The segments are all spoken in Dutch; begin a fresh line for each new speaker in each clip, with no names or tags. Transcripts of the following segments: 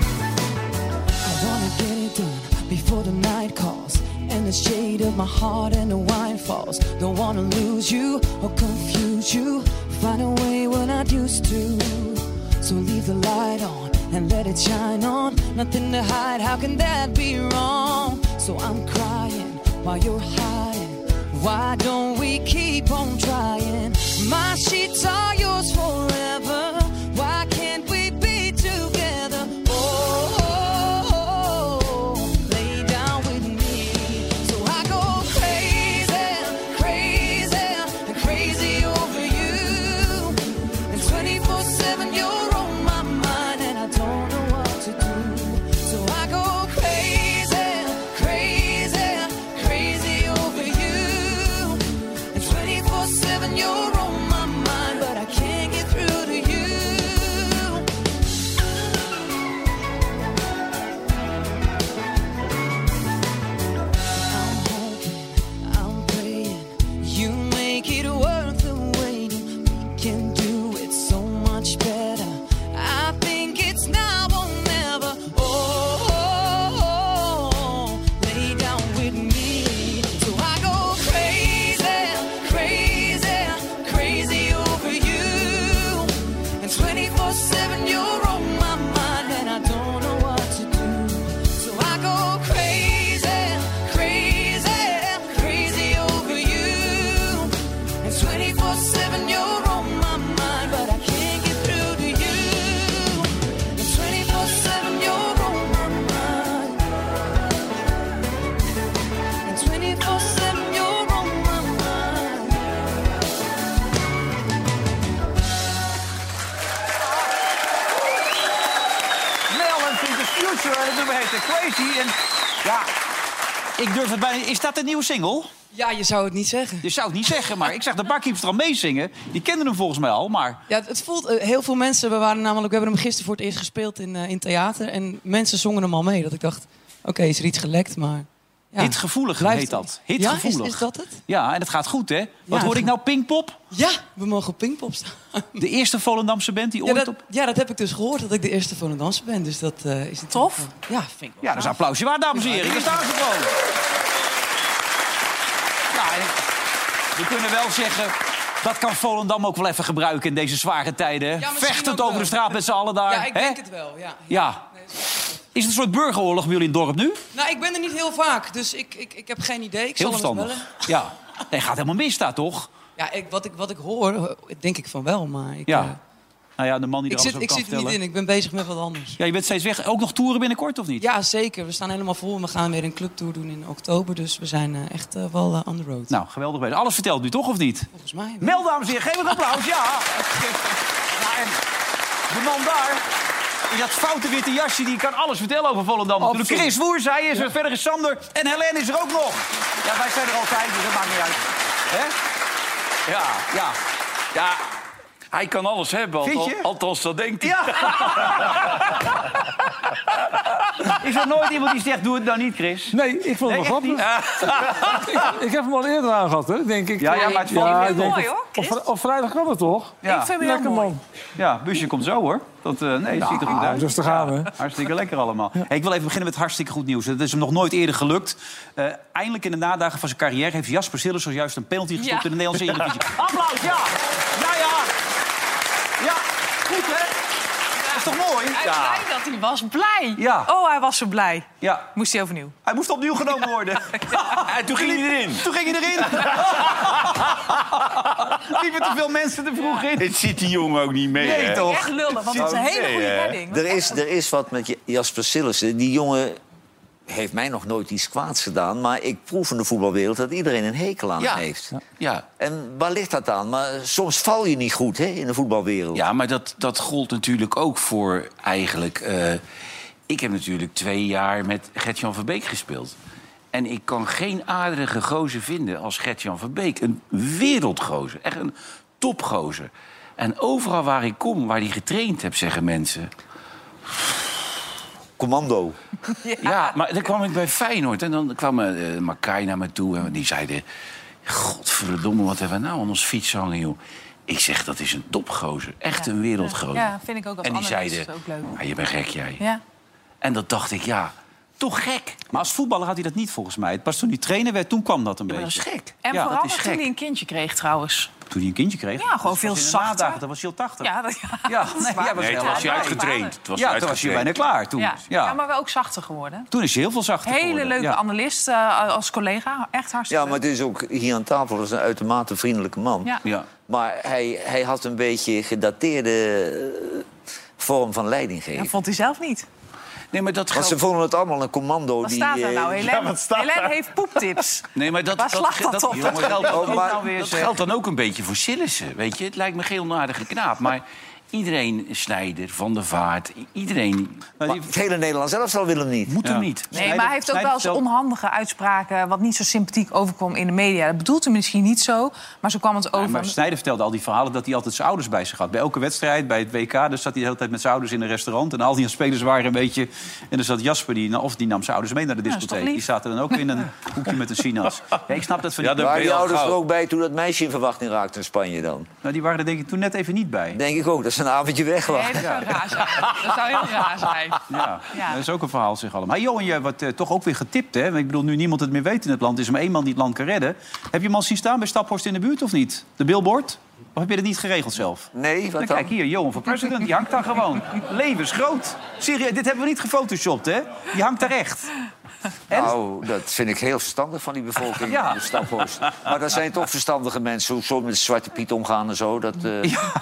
I wanna get it done before the night calls and the shade of my heart and the wine falls. Don't wanna lose you or confuse you. Find a way when I used to. So leave the light on and let it shine on. Nothing to hide, how can that be wrong? So I'm crying while you're hiding. Why don't we keep on trying? My sheets are yours forever. Why can't we be together? Oh, oh, oh, lay down with me. So I go crazy, crazy, and crazy over you. And 24 7, you're on my mind, and I don't know what to do. So I go crazy, crazy, crazy over you. And 24 7, you're on my mind, but I can't get through to you. I'm hoping, I'm praying you make it worth the wait. We can do it so much better. I think it's now or never. Oh, oh, oh, lay down with me. So I go crazy, crazy, crazy over you. And 24 7, you're on my mind, and I don't know what to do. So I go crazy, crazy, crazy over you. And 24 7, you're on my mind, but I can't get through to you. And 24 7, you're on my mind. And 24 7, you're on my mind.
Mel en Think the Future. En het nummer heette Crazy. En ja, ik durf het bijna... Is dat een nieuwe single?
Ja, je zou het niet zeggen.
Je zou het niet zeggen, maar ik zag de barkeepster al meezingen. Die kenden hem volgens mij al, maar...
Ja, het- het voelt, eh, heel veel mensen, we, waren namelijk, we hebben hem gisteren voor het eerst gespeeld in, eh, in theater. En mensen zongen hem al mee. Dat ik dacht, oké, is er iets gelekt, maar... Ja.
Hitgevoelig
Blijft
heet
er
dat.
iets.
Hitgevoelig.
Ja, is, is dat het?
Ja, en het gaat goed, hè? Wat
Ja.
hoor ik nou? Pinkpop?
Ja, we mogen op Pinkpop staan.
De eerste Volendamse band die
Ja
ooit
dat,
op...
ja, dat heb ik dus gehoord, dat ik de eerste Volendamse ben. Dus dat eh, is natuurlijk
Tof.
wel- Ja, vind ik wel
Ja, dat is een
gaaf.
applausje waard, dames en heren. Hier staan ze gewoon. Ja, en we kunnen wel zeggen... Dat kan Volendam ook wel even gebruiken in deze zware tijden. hè?
Ja, misschien
Vechtend
ook
over
wel.
de straat met z'n allen daar.
Ja, ik
hè?
denk het wel, ja.
Ja. Is het een soort burgeroorlog bij jullie in het dorp nu?
Nou, ik ben er niet heel vaak, dus ik, ik, ik heb geen idee. Ik
Heel
zal hem eens
verstandig. Ja. Nee, gaat helemaal mis daar, toch?
bellen. Ja, ik, wat, ik, wat ik hoor, eh, denk ik van wel, maar ik,
Ja.
eh,
Nou ja, de man die
ik
er
zit,
alles
ik
over kan
zit er niet in.
vertellen.
Ik ben bezig met wat anders.
Ja, je bent steeds weg. Ook nog toeren binnenkort, of niet?
Ja, zeker. We staan helemaal vol. en We gaan weer een clubtour doen in oktober. Dus we zijn eh, echt eh, wel eh, on the road.
Nou, geweldig bezig. Alles vertelt nu, toch, of niet?
Volgens mij. wel.
Mel, dames en heren, geef hem een applaus. Ja. ja en de man daar. In dat foute witte jasje, die kan alles vertellen over Volendam. Natuurlijk.
Absoluut.
Chris Woers, hij is er. Verder is Sander. En Helene is er ook nog. Ja, wij zijn er altijd, dus dat maakt niet uit. Hè? Ja, ja.
Ja, hij kan alles hebben.
Vind
Althans,
je?
althans dat denkt hij.
Ja. Is er nooit iemand die zegt, doe het nou niet, Chris?
Nee, ik vond het wel grappig. ik, ik heb hem al eerder aangehad, hè, denk ik.
Ja, ja, maar het valt niet
ik
meer
denk
mooi,
dat-
hoor,
Op,
Chris.
vri- op vrijdag kan het toch?
Ja,
vind hem heel
Lekker
mooi.
man.
ja, busje komt zo hoor. Dat, eh, nee, het ziet er goed
nou,
Ah,
uit.
rustig aan, hè.
Hartstikke lekker allemaal. Hey, ik wil even beginnen met hartstikke goed nieuws. Het is hem nog nooit eerder gelukt. Eh, eindelijk in de nadagen van zijn carrière heeft Jasper Sillis zojuist een penalty gestopt
Ja.
in de Nederlandse Eredivisie. Applaus, ja! Ja, ja! Ja, goed hè? Dat is toch mooi?
Hij was
Ja.
blij dat hij was. Blij.
Ja.
Oh, hij was zo blij.
ja.
Moest hij overnieuw.
Hij moest opnieuw genomen worden.
En toen ging hij erin.
Toen ging hij erin. Liepen te veel mensen te vroeg in.
Dit ziet die jongen ook niet mee,
Nee,
hè?
toch?
Echt lullen, want het is een
Oh,
hele
nee,
goede
hè.
redding.
Er is, er is wat met Jasper Sillissen. Die jongen heeft mij nog nooit iets kwaads gedaan. Maar ik proef in de voetbalwereld dat iedereen een hekel aan
Ja.
hem heeft.
Ja.
En waar ligt dat aan? Maar soms val je niet goed hè, in de voetbalwereld.
Ja, maar dat, dat gold natuurlijk ook voor eigenlijk... eh, ik heb natuurlijk twee jaar met Gert-Jan Verbeek gespeeld. En ik kan geen aardige gozer vinden als Gert-Jan Verbeek. Een wereldgozer, echt een topgozer. En overal waar ik kom, waar hij getraind heb, zeggen mensen...
Commando.
Ja, maar dan kwam ik bij Feyenoord en dan kwam eh eh, Makai naar me toe en die zeiden... Godverdomme, wat hebben we nou aan ons fiets hangen, joh. Ik zeg, dat is een topgozer. Echt een wereldgozer.
Ja, vind ik ook als
En die
analist
zeiden,
ook leuk.
"Ah, je bent gek, jij.
Ja.
En dat dacht ik, ja, toch gek.
Maar als voetballer had hij dat niet volgens mij. Pas toen hij trainer werd, toen kwam dat een
Maar dat is
beetje.
gek.
En
Ja,
vooral
dat is
nog toen
gek.
hij een kindje kreeg trouwens.
Toen hij een kindje kreeg.
Ja, gewoon
dat was
veel
in de
zachter.
nadagen, Dat was heel 80.
Ja, dat, ja,
Ja,
dat is
nee,
waar.
jij was
Nee,
heel
toen was hij
Ja,
uitgetraind. Toen was
Ja,
hij
toen was je bijna
uitgetraind.
klaar. Toen,
Ja.
ja.
Ja. maar wel ook zachter geworden.
toen is hij heel veel zachter
Hele
geworden.
leuke
ja.
analist eh, als collega. Echt hartstikke
Ja, maar het is ook hier aan tafel dat is een uitermate vriendelijke man.
leuk. Ja.
Ja.
Maar hij, hij had een beetje gedateerde eh, vorm van leidinggeven.
Dat vond hij zelf niet.
Nee, maar dat
Want
geldt...
ze vonden het allemaal een commando
Wat
die.
staat er
eh,
nou? Helene,
wat staat
Helene
daar?
heeft poeptips.
Nee, maar dat,
Waar slaat dat op?
jongen, dat geldt,
Oh,
ook
maar-
nou weer, dat geldt dan ook een beetje voor Sillissen, Dus, eh, weet je? Het lijkt me geen onaardige knaap, maar iedereen, Snijder, Van der Vaart, i- iedereen
Maar die-
het hele Nederland zelf al wil hem niet.
moet hem niet.
Nee, maar hij heeft ook
Snijder
wel eens
vertelt-
onhandige uitspraken... wat niet zo sympathiek overkwam in de media. Dat bedoelt hij misschien niet zo, maar zo kwam het
Ja,
over.
maar Snijder vertelde al die verhalen dat hij altijd zijn ouders bij zich had. Bij elke wedstrijd, bij het WK, dus zat hij de hele tijd met zijn ouders in een restaurant. En al die spelers waren een beetje... En er zat Jasper, die, of die nam zijn ouders mee naar de
dat is toch
discotheek. die
lief?
zaten dan ook in een hoekje met een sinaas. Ja, ik snap dat van
Ja,
die...
dat- ben je
Waren die
al
ouders er
gauw.
ook bij toen dat meisje in verwachting raakte in Spanje dan?
Nou, die waren er denk ik toen net even niet bij.
Denk ik ook, dat ze een avondje weg
Nee,
waren.
dat zou raar zijn. Dat zou heel raar zijn.
Ja,
Ja.
dat is ook een verhaal zich allemaal. Hey, Johan, je wordt eh, toch ook weer getipt, hè? Want Ik bedoel, nu niemand het meer weet in het land. Er is maar één man die het land kan redden. Heb je hem al zien staan bij Staphorst in de buurt of niet? De billboard? Of heb je dat niet geregeld zelf?
Nee, wat
Dan
dan?
Nou, kijk hier, Johan voor president, die hangt daar gewoon. Levensgroot. Serieus, dit hebben we niet gefotoshopt, hè? Die hangt daar echt.
Nou, dat vind ik heel verstandig van die bevolking
Ja.
in de Staphorst. Maar dat zijn toch verstandige mensen, hoe ze met Zwarte Piet omgaan en zo. Dat, eh, ja.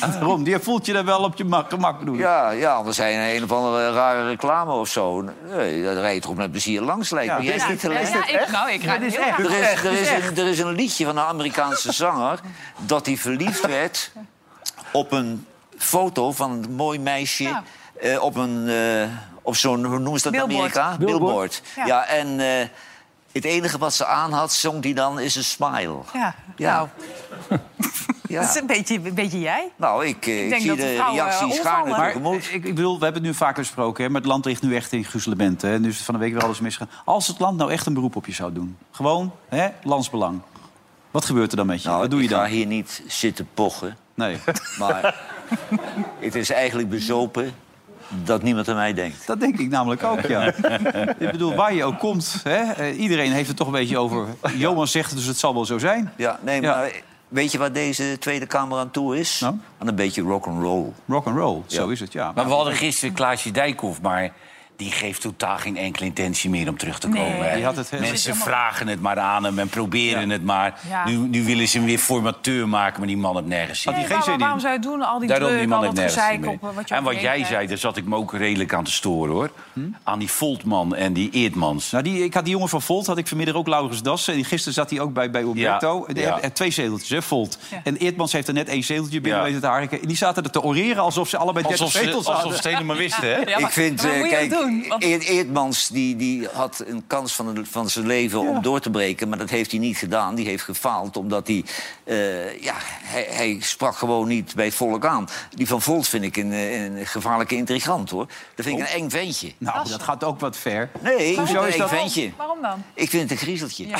Daarom, die voelt je daar wel op je mak- gemak, bedoel je?
Ja, anders zijn een of andere rare reclame of zo. Nee, dat rijdt toch met plezier langs, lijkt me.
Ja,
Jij is niet te
Ja,
lezen.
ja, ik, nou, ik raak
Dit is
heel
echt.
graag-
Er is, er, is een, er is een liedje van een Amerikaanse zanger dat hij verliefd werd op een foto van een mooi meisje
Ja.
eh, op een eh, op zo'n hoe noemen ze dat in
Ah. Billboard.
Amerika? Billboard.
Ja.
Ja, en eh, het enige wat ze aan had, zong die dan is een smile.
Ja,
Ja.
nou,
Ja.
dat is een beetje, een beetje jij.
Nou, ik, eh, ik
denk
zie
dat de
de
vrouwen,
reacties
eh,
gaarne
omvallen.
Maar
tegemoet.
ik, ik bedoel, we hebben het nu vaker gesproken, hè, maar het land ligt nu echt in gruzelement. Hè, nu is het van de week weer alles misgegaan. Als het land nou echt een beroep op je zou doen, gewoon hè, landsbelang. Wat gebeurt er dan met je?
Nou,
Wat doe je
ik ga
dan?
hier niet zitten pochen,
Nee,
maar het is eigenlijk bezopen dat niemand aan mij denkt.
dat denk ik namelijk ook, ja. ik bedoel, waar je ook komt, hè, eh, iedereen heeft het toch een beetje over. Johan zegt het, dus het zal wel zo zijn.
Ja, nee,
Ja.
maar weet je waar deze Tweede Kamer aan toe is?
Nou?
Aan een beetje rock'n'roll.
Rock and roll, zo is het, ja.
Maar we hadden gisteren Klaasje Dijkhoff, maar die geeft totaal geen enkele intentie meer om terug te komen. hè.
Die had het heel-
Mensen vragen het maar aan hem en proberen het maar.
Ja. Oh,
Nu, nu willen ze hem weer formateur maken, maar die man heeft nergens zin
Had
in.
hij
Nee,
geen zin
waarom,
in?
waarom zou je doen? Al die
Daarom, die
druk,
man
al
heeft
dat
nergens
gezeik
zin
op
mee.
eh, wat je
En wat
omheen
jij
krijgt.
zei, daar zat ik me ook redelijk aan te storen, hoor.
Hm?
Aan die Voltman en die Eerdmans.
Nou, die, ik had die jongen van Volt, had ik vanmiddag ook Laurens Dassen. En gisteren zat hij ook bij, bij Umberto.
Ja,
Die
ja.
heeft- heeft twee zeteltjes, hè, Volt. En Eertmans heeft er net één zeteltje binnen
Ja.
weten te harken. En die zaten er te oreren alsof ze allebei 30
Alsof ze,
zetels
alsof
hadden.
ze het helemaal wisten, hè?
Ja, maar-
ik vind,
maar
eh,
moet je
kijk,
dat doen? Want-
Eert- Eertmans die, die had een kans van, het- van zijn leven om door te breken. Maar dat heeft hij niet gedaan. Die heeft gefaald omdat hij... eh, ja, hij, hij sprak gewoon niet bij het volk aan. Die van Volt vind ik een, eh, een gevaarlijke intrigant, hoor. Dat vind ik een eng ventje.
Nou, dat gaat ook wat ver.
Nee,
Hoezo
een
is
eng
dat-
ventje.
Waarom dan?
Ik vind het een griezeltje. Ja,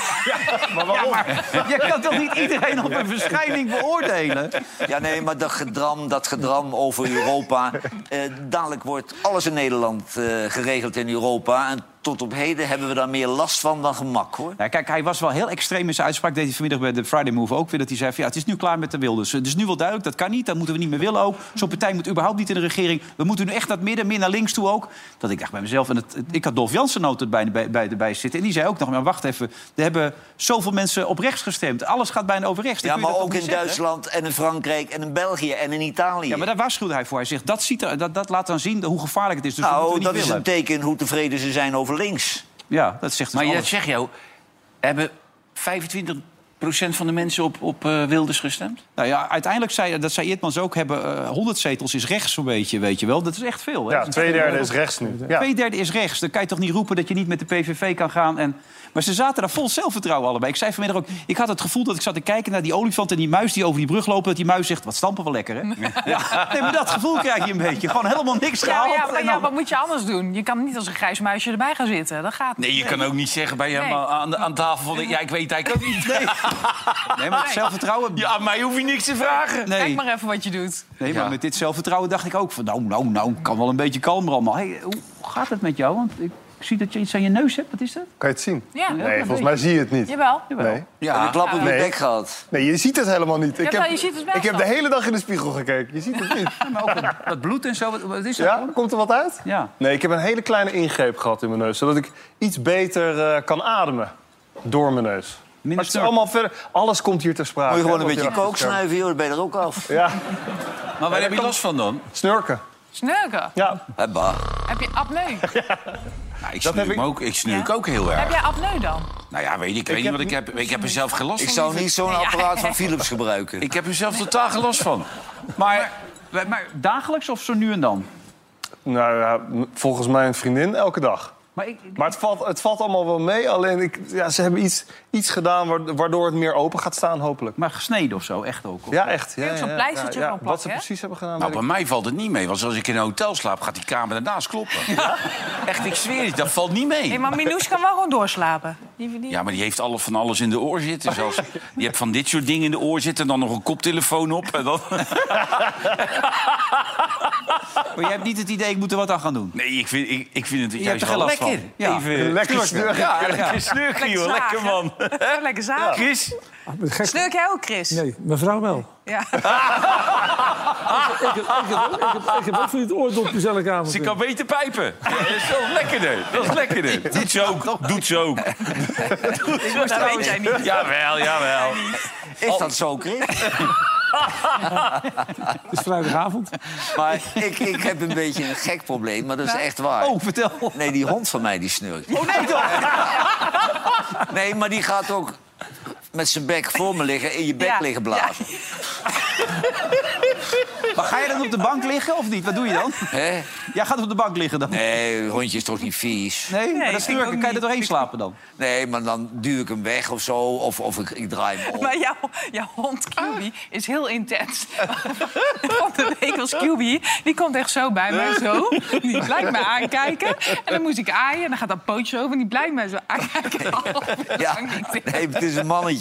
Je kan toch niet iedereen op een verschijning beoordelen?
nee, maar dat gedram, dat gedram over Europa. Eh, dadelijk wordt alles in Nederland eh, geregeld in Europa. En tot op heden hebben we daar meer last van dan gemak, hoor.
Nou, kijk, hij was wel heel extreem in zijn uitspraak. Deed hij vanmiddag bij de Friday Move ook weer. Dat hij zei: van, ja, het is nu klaar met de Wilders. Het is nu wel duidelijk, dat kan niet. Dat moeten we niet meer willen ook. Zo'n partij moet überhaupt niet in de regering. We moeten nu echt naar het midden, meer naar links toe ook. Dat ik dacht bij mezelf. En het, het- ik had Dolf Jansen nou tot bij, bij, bij, erbij zitten. En die zei ook nog: maar wacht even. Er hebben zoveel mensen op rechts gestemd. Alles gaat bijna over rechts. Dan
Ja,
kun je
maar
dat
ook
toch
in
niet zeggen?
Duitsland en in Frankrijk en in België en in Italië.
Ja, maar daar waarschuwde hij voor. Hij zegt: dat, ziet er, dat, dat laat dan zien hoe gevaarlijk het is. Dus dat
nou,
moeten we
dat
niet
is
willen.
een teken hoe tevreden ze zijn over links.
Ja, dat zegt dus
Maar dat
alles.
zeg jou, hebben 25% van de mensen op, op eh, Wilders gestemd?
Nou ja, uiteindelijk zei, dat zei Eertmans ook, hebben eh, 100 zetels is rechts zo'n beetje, weet je wel. Dat is echt veel. Hè?
Ja, twee derde is rechts nu. Ja.
Twee derde is rechts. Dan kan je toch niet roepen dat je niet met de PVV kan gaan. En... Maar ze zaten daar vol zelfvertrouwen allebei. Ik zei vanmiddag ook, ik had het gevoel dat ik zat te kijken naar die olifant en die muis die over die brug lopen. Dat die muis zegt, wat stampen wel lekker, hè? Ja, nee, maar dat gevoel krijg je een beetje. Gewoon helemaal niks
Ja,
gehaald.
ja, maar
en
ja,
dan-
wat moet je anders doen? Je kan niet als een grijs muisje erbij gaan zitten. Dat gaat niet.
Nee, je kan ook niet zeggen bij hem eh,
Nee.
aan, de- aan tafel... van, Ja, ik weet eigenlijk ook niet.
Nee, maar het zelfvertrouwen...
Ja, aan mij hoef je niks te vragen.
Kijk
Nee,
maar even wat je doet.
nee, maar
Ja.
met dit zelfvertrouwen dacht ik ook van... nou, nou, nou, kan wel een beetje kalmer allemaal. Hey, hoe gaat het met jou? Want ik zie dat je iets aan je neus hebt. Wat is dat?
Kan je het zien?
Ja,
Nee, volgens mij zie je het niet.
jawel.
Nee.
Heb je klap op je
Nee.
bek gehad?
nee, je ziet het helemaal niet. Ik
Jawel,
heb,
je ziet het dus wel
ik heb de
dan.
hele dag in de spiegel gekeken. Je ziet het niet.
Maar ook dat, dat bloed en zo, wat, wat is dat?
Ja? Komt er wat uit?
Ja.
Nee, ik heb een hele kleine ingreep gehad in mijn neus. Zodat ik iets beter eh, kan ademen door mijn neus. Maar het is
snurken.
allemaal verder. Alles komt hier ter sprake.
Moet je gewoon
hè,
een
wat
beetje
hier
kook snuiven, joh, dan ben je er ook af.
Ja,
Maar waar heb je last van dan?
snurken.
Snurken.
Ja.
Hè, bah.
Heb je apneu?
Nou, ik
heb
snurk,
ik-
me ook, ik snurk
Ja.
ook heel
Heb
erg.
jij apneu dan?
Nou ja, weet ik, ik weet niet
heb
wat ik heb. Ik heb er zelf geen last
Ik
van.
zou niet zo'n apparaat van Philips gebruiken.
Ik heb er zelf totaal geen last van.
Maar, maar, maar dagelijks of zo nu en dan?
Nou ja, m- volgens mijn vriendin elke dag.
Maar ik,
Maar het valt, het valt allemaal wel mee. Alleen ik, ja, ze hebben iets, iets gedaan wa- waardoor het meer open gaat staan, hopelijk.
maar gesneden of zo, echt ook. of-
Ja, echt. Ja,
Kun je ook zo'n
ja,
pleistertje
ja, ja.
erop
Wat ze
plakken, hè?
precies hebben gedaan.
Nou,
weet
bij mij valt het niet mee. Want als ik in een hotel slaap, gaat die kamer daarnaast kloppen. Echt, ik zweer het, dat valt niet
Nee,
mee.
maar Minous kan wel gewoon doorslapen. Die, die...
Ja, maar die heeft alles van alles in de oor zitten. Zelfs, die hebt van dit soort dingen in de oor zitten. En dan nog een koptelefoon op. En dan...
Maar jij hebt niet het idee, ik moet er wat aan gaan doen.
Nee, ik vind, ik, ik vind het
Je hebt
juist
er geen
wel
last van.
lekker.
Ja.
Even
Lekker
snurken. Ja, lekker snurken, joh. Lekker,
zagen.
man.
Lekker zaak.
Chris,
Snurk jij ook, Chris?
Nee, mevrouw wel.
Ja.
Ik heb, ik heb, ik heb, ik heb ook van dit oordopjes elke avond.
ze
in.
kan beter pijpen. Dat is wel lekkerder. Dat is lekkerder. Doet ze ook. Doet ze ook.
Dat weet jij niet.
Jawel, jawel.
Is dat zo, Chris?
Het is vrijdagavond.
Maar ik, ik heb een beetje een gek probleem, maar dat is echt waar.
Oh, vertel.
Nee, die hond van mij die snurkt.
Oh nee toch?
Nee, maar die gaat ook met zijn bek voor me liggen in je bek
Ja.
liggen blazen.
Maar ga je dan op de bank liggen of niet? Wat doe je dan?
Hè?
Jij gaat op de bank liggen dan.
Nee, hondje is toch niet vies?
Nee, maar
ik
dat
ook
snurken, kan je er
niet.
doorheen slapen dan?
Nee, maar dan duw ik hem weg of zo. Of, of ik, ik draai hem om.
Maar jouw, jouw hond
Ah.
QB is heel intens. Van de week was QB, die komt echt zo bij mij zo. Die blijft mij aankijken. En dan moest ik aaien en dan gaat dat pootje over. En die blijft mij zo aankijken. Oh,
Ja,
Ja.
nee, het is een mannetje.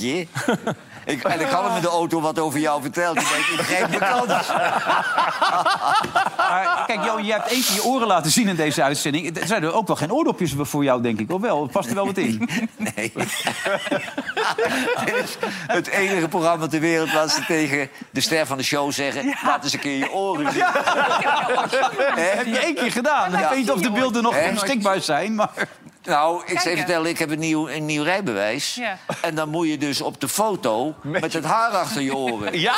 Ik, en ik had hem in de auto wat over jou verteld. Ik denk, ik grijp mijn kans.
Maar Ah, kijk, Jo, je hebt eentje je oren laten zien in deze uitzending. Er zijn er ook wel geen oordopjes voor jou, denk ik. Of wel? Past er wel wat in?
Nee. Dit is het enige programma ter wereld waar ze tegen de ster van de show zeggen... laat eens een keer je oren zien.
Heb je één keer gedaan.
Ja.
Ik weet niet of de beelden nog
Hè?
beschikbaar zijn, maar...
Nou, ik zal je
Kijken.
vertellen, ik heb een nieuw, een nieuw rijbewijs.
Ja.
En dan moet je dus op de foto met het haar achter je oren. Ja?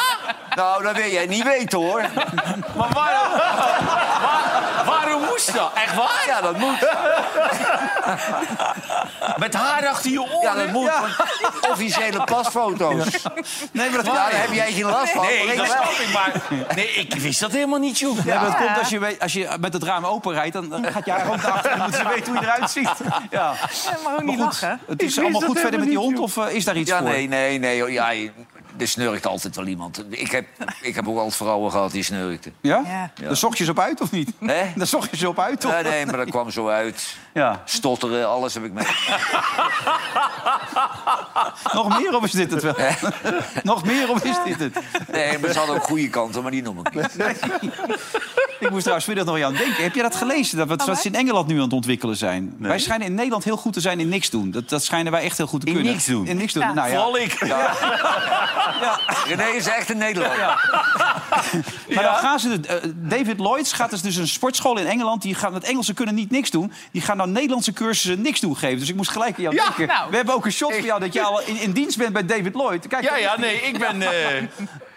Nou, dat wil jij niet weten, hoor.
Maar waarom, waarom moest dat? Echt waar?
Ja, dat moet.
Met haar achter je oren?
Ja, dat moet. want Officiële pasfoto's.
Nee, maar dat
Ja, daar heb jij geen last van. maar
nee,
ik
dat
wel.
snap ik maar. Nee, ik wist dat helemaal niet, joh.
Nee, maar dat komt als je, weet- als je met het raam open rijdt, dan, dan gaat je haar ook naar achteren. Dan moeten ze weten hoe je eruit ziet. Ja.
Maar ook niet
Goed,
lachen.
het is allemaal goed verder met die hond of eh, is daar iets
Ja,
voor?
nee, nee, nee. joh. Ja, je- er snurkt altijd wel iemand. Ik heb, ik heb ook altijd vrouwen gehad die snurkten.
Ja?
Ja.
Daar zocht je ze op uit of niet?
Hè?
Daar zocht je ze op uit, toch?
Nee, nee, maar dat kwam zo uit.
Ja.
Stotteren, alles heb ik mee.
Nog meer of is dit het wel? Nog meer of is dit het?
Nee, maar ze hadden ook goede kanten, maar die noem ik niet.
Ik moest trouwens middag nog aan denken. Heb je dat gelezen? Dat wat, wat ze in Engeland nu aan het ontwikkelen zijn. Wij schijnen in Nederland heel goed te zijn in niks doen. Dat, dat schijnen wij echt heel goed te
In
kunnen.
niks doen?
In niks doen.
Ja.
Nou, ja.
Vooral ik.
René is echt een Nederlander.
Maar dan gaan ze... de- eh, David Lloyds gaat dus, dus een sportschool in Engeland. Die gaan, het Engelse kunnen niet niks doen. Die gaan nou Nederlandse cursussen niks doen geven. Dus ik moest gelijk aan jou denken.
nou.
We hebben ook een shot voor jou dat je al in, in dienst bent bij David Lloyd. Kijk,
Ja, ja, nee, ik ben... eh,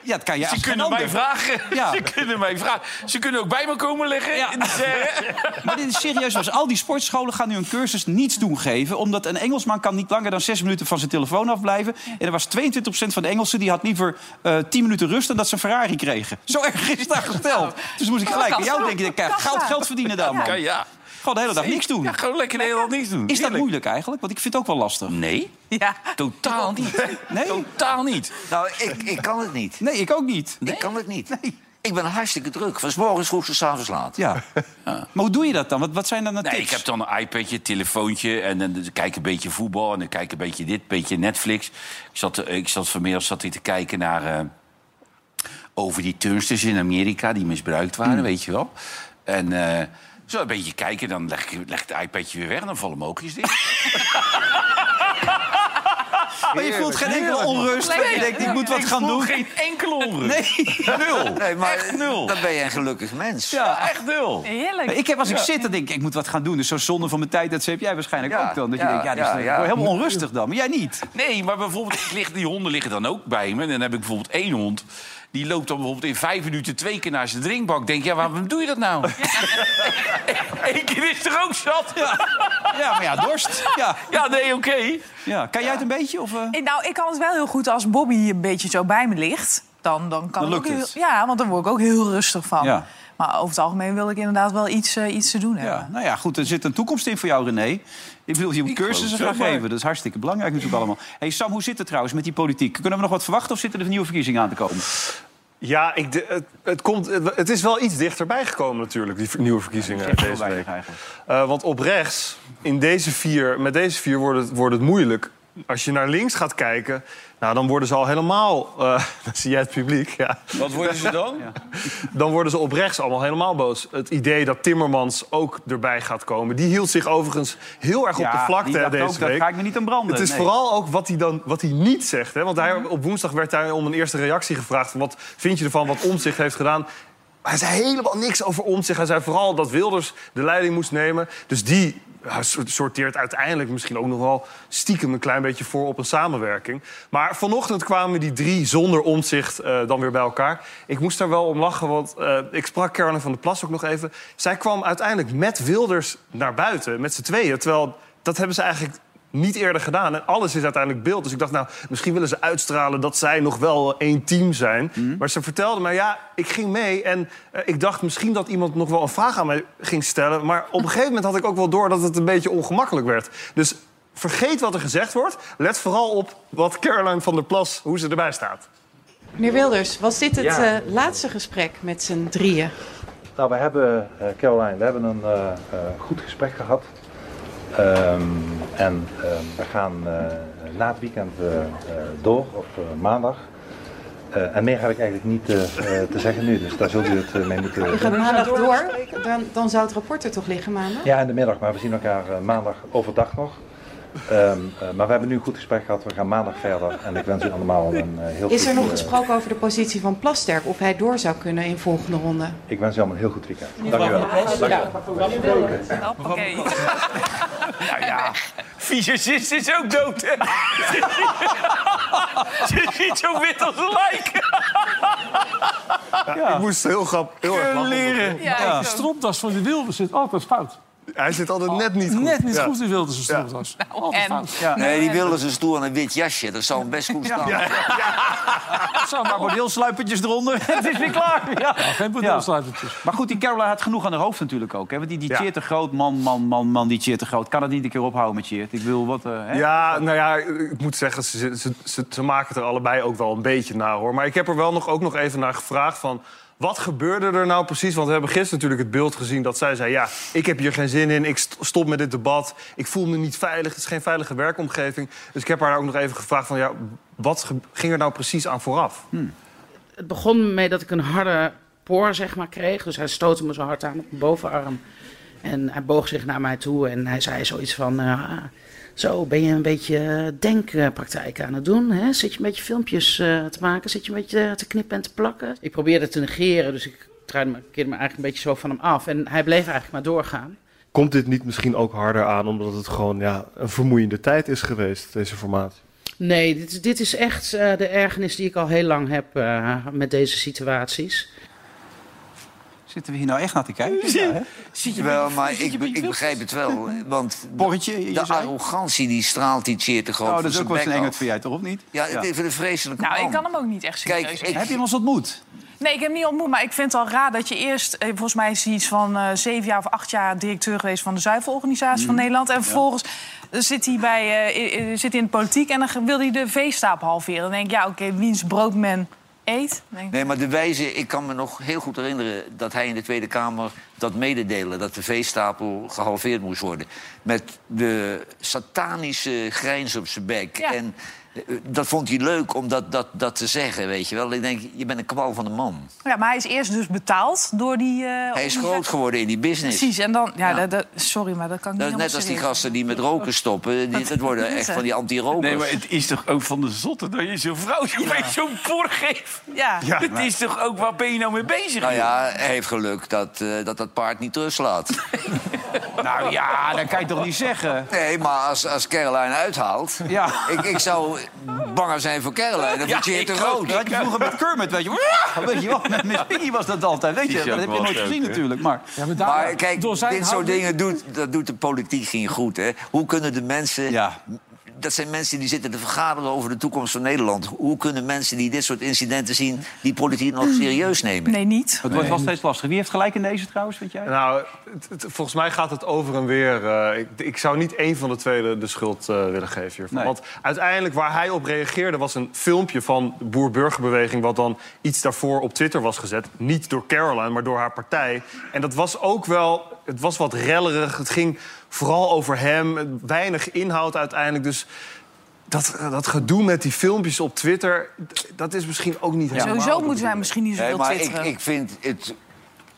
Ja, dat kan je
Ze
als geen
kunnen mij
ander.
vragen.
Ja.
Ze kunnen mij vragen. Ze kunnen ook bij me komen liggen.
Ja.
En zeggen,
Maar dit is serieus. Was. Al die sportscholen gaan nu een cursus niets doen geven. Omdat een Engelsman kan niet langer dan zes minuten van zijn telefoon afblijven. En er was 22% van de Engelsen die had liever eh 10 minuten rust... dan dat ze een Ferrari kregen. Zo erg is het daar gesteld. Dus moest ik gelijk aan jou denken. Kijk, goud geld verdienen daar, man.
kan ja.
Gewoon de hele dag niks doen.
Ja, gewoon lekker helemaal niks doen.
Is dat
Heerlijk.
moeilijk eigenlijk? Want ik vind het ook wel lastig.
Nee,
Ja. Oh,
totaal niet.
Nee?
Totaal niet.
Nou, ik, ik kan het niet.
Nee, ik ook niet.
Ik kan het niet. Ik ben hartstikke druk. Van 's morgens vroeg tot 's avonds laat.
Ja. Maar hoe doe je dat dan? Wat, wat zijn dan de
Nee,
tips?
ik heb dan een iPadje, telefoontje en dan kijk ik een beetje voetbal en dan kijk ik een beetje dit, een beetje Netflix. Ik zat, eh, ik zat vanmiddag zat ik te kijken naar eh, over die turnsters in Amerika die misbruikt waren,
Hmm.
weet je wel. En eh, zo een beetje kijken, dan leg ik leg ik het iPadje weer weg en dan vallen mijn oogjes dicht.
maar je voelt geen enkele onrust.
Lekker.
Je denkt, ik moet wat gaan doen.
Geen enkele onrust.
Nee, nul.
Nee, maar
Echt nul.
dan ben je een gelukkig mens.
Ja,
Echt nul.
Heerlijk.
Nou, Ik heb als ik zit, dan denk ik, ik moet wat gaan doen. Dus zo'n zonde van mijn tijd, dat heb jij waarschijnlijk
Ja,
ook dan. Dat je
ja,
denkt, ja, dat is
ja,
dan- ik
ja.
word helemaal onrustig dan. Maar jij niet.
Nee, maar bijvoorbeeld ik lig, die honden liggen dan ook bij me. En dan heb ik bijvoorbeeld één hond. Die loopt dan bijvoorbeeld in vijf minuten twee keer naar zijn drinkbak. Denk, ja, waarom doe je dat nou? Eén keer is er ook zat.
Ja, maar ja, dorst. Ja,
Ja, nee, oké.
ja. Kan jij het een beetje? Of, eh?
Eh, Nou, ik kan het wel heel goed als Bobby een beetje zo bij me ligt. Dan, dan kan
Dan
ik ook
lukt
heel-
het.
Ja, want dan word ik ook heel rustig van.
Ja.
Maar over het algemeen wil ik inderdaad wel iets, eh, iets te doen hebben.
Ja, nou ja, goed, er zit een toekomst in voor jou, René. Ik bedoel, je moet cursussen gaan geven. Dat is hartstikke belangrijk natuurlijk allemaal. hey, Sam, hoe zit het trouwens met die politiek? Kunnen we nog wat verwachten of zitten er nieuwe verkiezingen aan te komen?
Ja, ik, de- het, het, komt, het, het is wel iets dichterbij gekomen natuurlijk, die ver- nieuwe verkiezingen deze week. Eh, want op rechts, in deze vier, met deze vier wordt het, wordt het moeilijk. Als je naar links gaat kijken, nou, dan worden ze al helemaal... eh, dan zie jij het publiek, ja.
Wat worden ze dan?
Dan worden ze op rechts allemaal helemaal boos. Het idee dat Timmermans ook erbij gaat komen... die hield zich overigens heel erg op de vlakte hè, deze
Daar
week.
ga ik me niet aan branden.
Het is
nee.
vooral ook wat hij, dan, wat hij niet zegt. Hè? Want hij, op woensdag werd hij om een eerste reactie gevraagd... Van wat vind je ervan wat Omtzigt heeft gedaan? Hij zei helemaal niks over Omtzigt. Hij zei vooral dat Wilders de leiding moest nemen. Dus die ja, so- sorteert uiteindelijk misschien ook nog wel stiekem een klein beetje voor op een samenwerking. Maar vanochtend kwamen die drie zonder omzicht dan weer bij elkaar. Ik moest daar wel om lachen, want eh, ik sprak Caroline van der Plas ook nog even. Zij kwam uiteindelijk met Wilders naar buiten, met z'n tweeën. Terwijl dat hebben ze eigenlijk niet eerder gedaan. En alles is uiteindelijk beeld. Dus ik dacht, nou, misschien willen ze uitstralen dat zij nog wel één team zijn.
Mhm.
Maar ze vertelde mij, ja, ik ging mee. En eh, ik dacht misschien dat iemand nog wel een vraag aan mij ging stellen. Maar op een gegeven moment had ik ook wel door dat het een beetje ongemakkelijk werd. Dus vergeet wat er gezegd wordt. Let vooral op wat Caroline van der Plas, hoe ze erbij staat.
Meneer Wilders, was dit het eh, laatste gesprek met z'n drieën?
Nou, we hebben, eh, Caroline, we hebben een eh, eh, goed gesprek gehad. Ehm, en ehm, we gaan eh, na het weekend eh, eh, door, op eh, maandag. Eh, en meer heb ik eigenlijk niet eh, eh, te zeggen nu, dus daar zult u het eh, mee moeten...
U gaat maandag door, dan, dan zou het rapport er toch liggen maandag?
Ja, in de middag, maar we zien elkaar eh, maandag overdag nog. Ehm, eh, maar we hebben nu een goed gesprek gehad, we gaan maandag verder. En ik wens u allemaal een eh, heel
Is er
goed,
nog
eh,
gesproken over de positie van Plasterk, of hij door zou kunnen in volgende ronde?
Ik wens u allemaal een heel goed weekend. Dank u wel.
Hoppakee.
Nou ja, fysicist is ook dood, hè? Ze ziet zo wit als een lijk.
Ik moest heel grappig. Heel erg lachen.
Ja,
Die stropdas van die Wilders zit altijd fout.
Hij zit altijd net niet goed.
Oh, Net niet
Ja.
goed die Wilders een stropdas. Nou, Altijd
en-
fout.
Nee, die wilde zijn stoel en een wit jasje. Dat zou hem best goed staan.
Sam, maar gewoon heel sluipertjes eronder. Het is weer klaar. Ja.
Geen bordeelsluitertjes.
Maar goed, die Caroline had genoeg aan haar hoofd natuurlijk ook. Hè? Want die, die
Ja.
cheert te groot. Man, man, man, man, die cheert te groot. Kan het niet een keer ophouden met cheert. Ik wil wat... eh, hè?
Ja, nou ja, ik moet zeggen, ze, ze, ze, ze maken het er allebei ook wel een beetje naar, hoor. Maar ik heb er wel nog, ook nog even naar gevraagd van... Wat gebeurde er nou precies? Want we hebben gisteren natuurlijk het beeld gezien dat zij zei... ja, ik heb hier geen zin in, ik st- stop met dit debat. Ik voel me niet veilig, het is geen veilige werkomgeving. Dus ik heb haar ook nog even gevraagd van... ja, wat ge- ging er nou precies aan vooraf?
het begon mee dat ik een harde poor zeg maar, kreeg. Dus hij stootte me zo hard aan op mijn bovenarm. En hij boog zich naar mij toe en hij zei zoiets van... eh, ah, zo, ben je een beetje eh, denkpraktijk aan het doen? Hè? Zit je een beetje filmpjes eh, te maken? Zit je een beetje eh, te knippen en te plakken? Ik probeerde te negeren, dus ik draaide me, keerde me eigenlijk een beetje zo van hem af. En hij bleef eigenlijk maar doorgaan.
Komt dit niet misschien ook harder aan omdat het gewoon ja, een vermoeiende tijd is geweest, deze formatie?
Nee, dit, is- dit is echt eh, de ergernis die ik al heel lang heb eh, met deze situaties.
Zitten we hier nou echt naar te kijken? Ja, hè?
Wel, maar ik, be- ik begrijp het wel. Want
Porretje, je
de,
zei?
arrogantie die straalt die cheer te groot
Oh,
van
dat is
zijn
ook wel eens
bek
een engert
af.
voor jij, toch? Of niet?
Ja,
Ja.
het is een vreselijke
Nou,
man.
ik kan hem ook niet echt serieus
Oh. Kijk,
nemen.
ik,
Heb je hem ons ontmoet?
Nee, ik heb hem niet ontmoet, maar ik vind het al raar dat je eerst... eh, volgens mij is hij iets van eh, zeven jaar of acht jaar directeur geweest... van de zuivelorganisatie
Mhm.
van Nederland. En vervolgens eh, zit hij bij, eh, i- i- zit hij in de politiek en dan wil hij de veestapel halveren. Dan denk ik, ja, oké, wiens brood men eet. Dan denk ik,
Nee, maar de wijze, ik kan me nog heel goed herinneren dat hij in de Tweede Kamer dat mededelen dat de veestapel gehalveerd moest worden. Met de satanische grijns op zijn bek.
Ja.
En eh, dat vond hij leuk om dat, dat, dat te zeggen, weet je wel. Ik denk, je bent een kwal van een man.
Ja, maar hij is eerst dus betaald door Oh, die... eh,
Hij is
organisatie.
groot geworden in die business.
Precies, en dan... Ja,
Ja.
Dat, dat- sorry, maar dat kan ik
Dat is
niet
net als die
helemaal serieus.
gasten die met roken stoppen. Die, dat worden echt van die anti-rokers.
Nee, maar het is toch ook van de zotte dat je zo'n vrouw zo'n beetje zo'n por geeft?
Ja.
het is toch ook, waar ben je nou mee bezig?
Nou ja, hij heeft geluk dat eh, dat, dat paard niet terugslaat.
Nou ja, dat kan je toch niet zeggen?
Nee, maar als, als Caroline uithaalt...
Ja.
Ik, ik zou banger zijn voor Caroline. Dan wordt je hier te rood.
Dat had je vroeger met Kermit, weet je wel. Weet je wel, met Miss Piggy was dat altijd, weet
Die
je.
is
Dat
ook
heb je
wel
nooit
leuk,
gezien
hè?
natuurlijk, maar...
Ja, maar daar-
Maar kijk,
door zijn
dit soort
houding-
dingen doet, dat doet de politiek geen goed. Hè? Hoe kunnen de mensen...
Ja.
Dat zijn mensen die zitten te vergaderen over de toekomst van Nederland. Hoe kunnen mensen die dit soort incidenten zien... die politiek nog serieus nemen?
Nee, niet.
Het wordt wel steeds lastiger. Wie heeft gelijk in deze trouwens, vind jij?
Nou, het- het- volgens mij gaat het over en weer. eh, ik, ik zou niet één van de twee de, de schuld eh, willen geven hiervan.
Nee.
Want uiteindelijk waar hij op reageerde was een filmpje van de boer-burgerbeweging... wat dan iets daarvoor op Twitter was gezet. Niet door Caroline, maar door haar partij. En dat was ook wel... Het was wat rellerig. Het ging vooral over hem. Weinig inhoud uiteindelijk. Dus dat, eh, dat gedoe met die filmpjes op Twitter... d- dat is misschien ook niet helemaal...
Sowieso
de
moeten wij misschien niet
Nee,
zoveel
maar ik,
twitteren.
ik vind het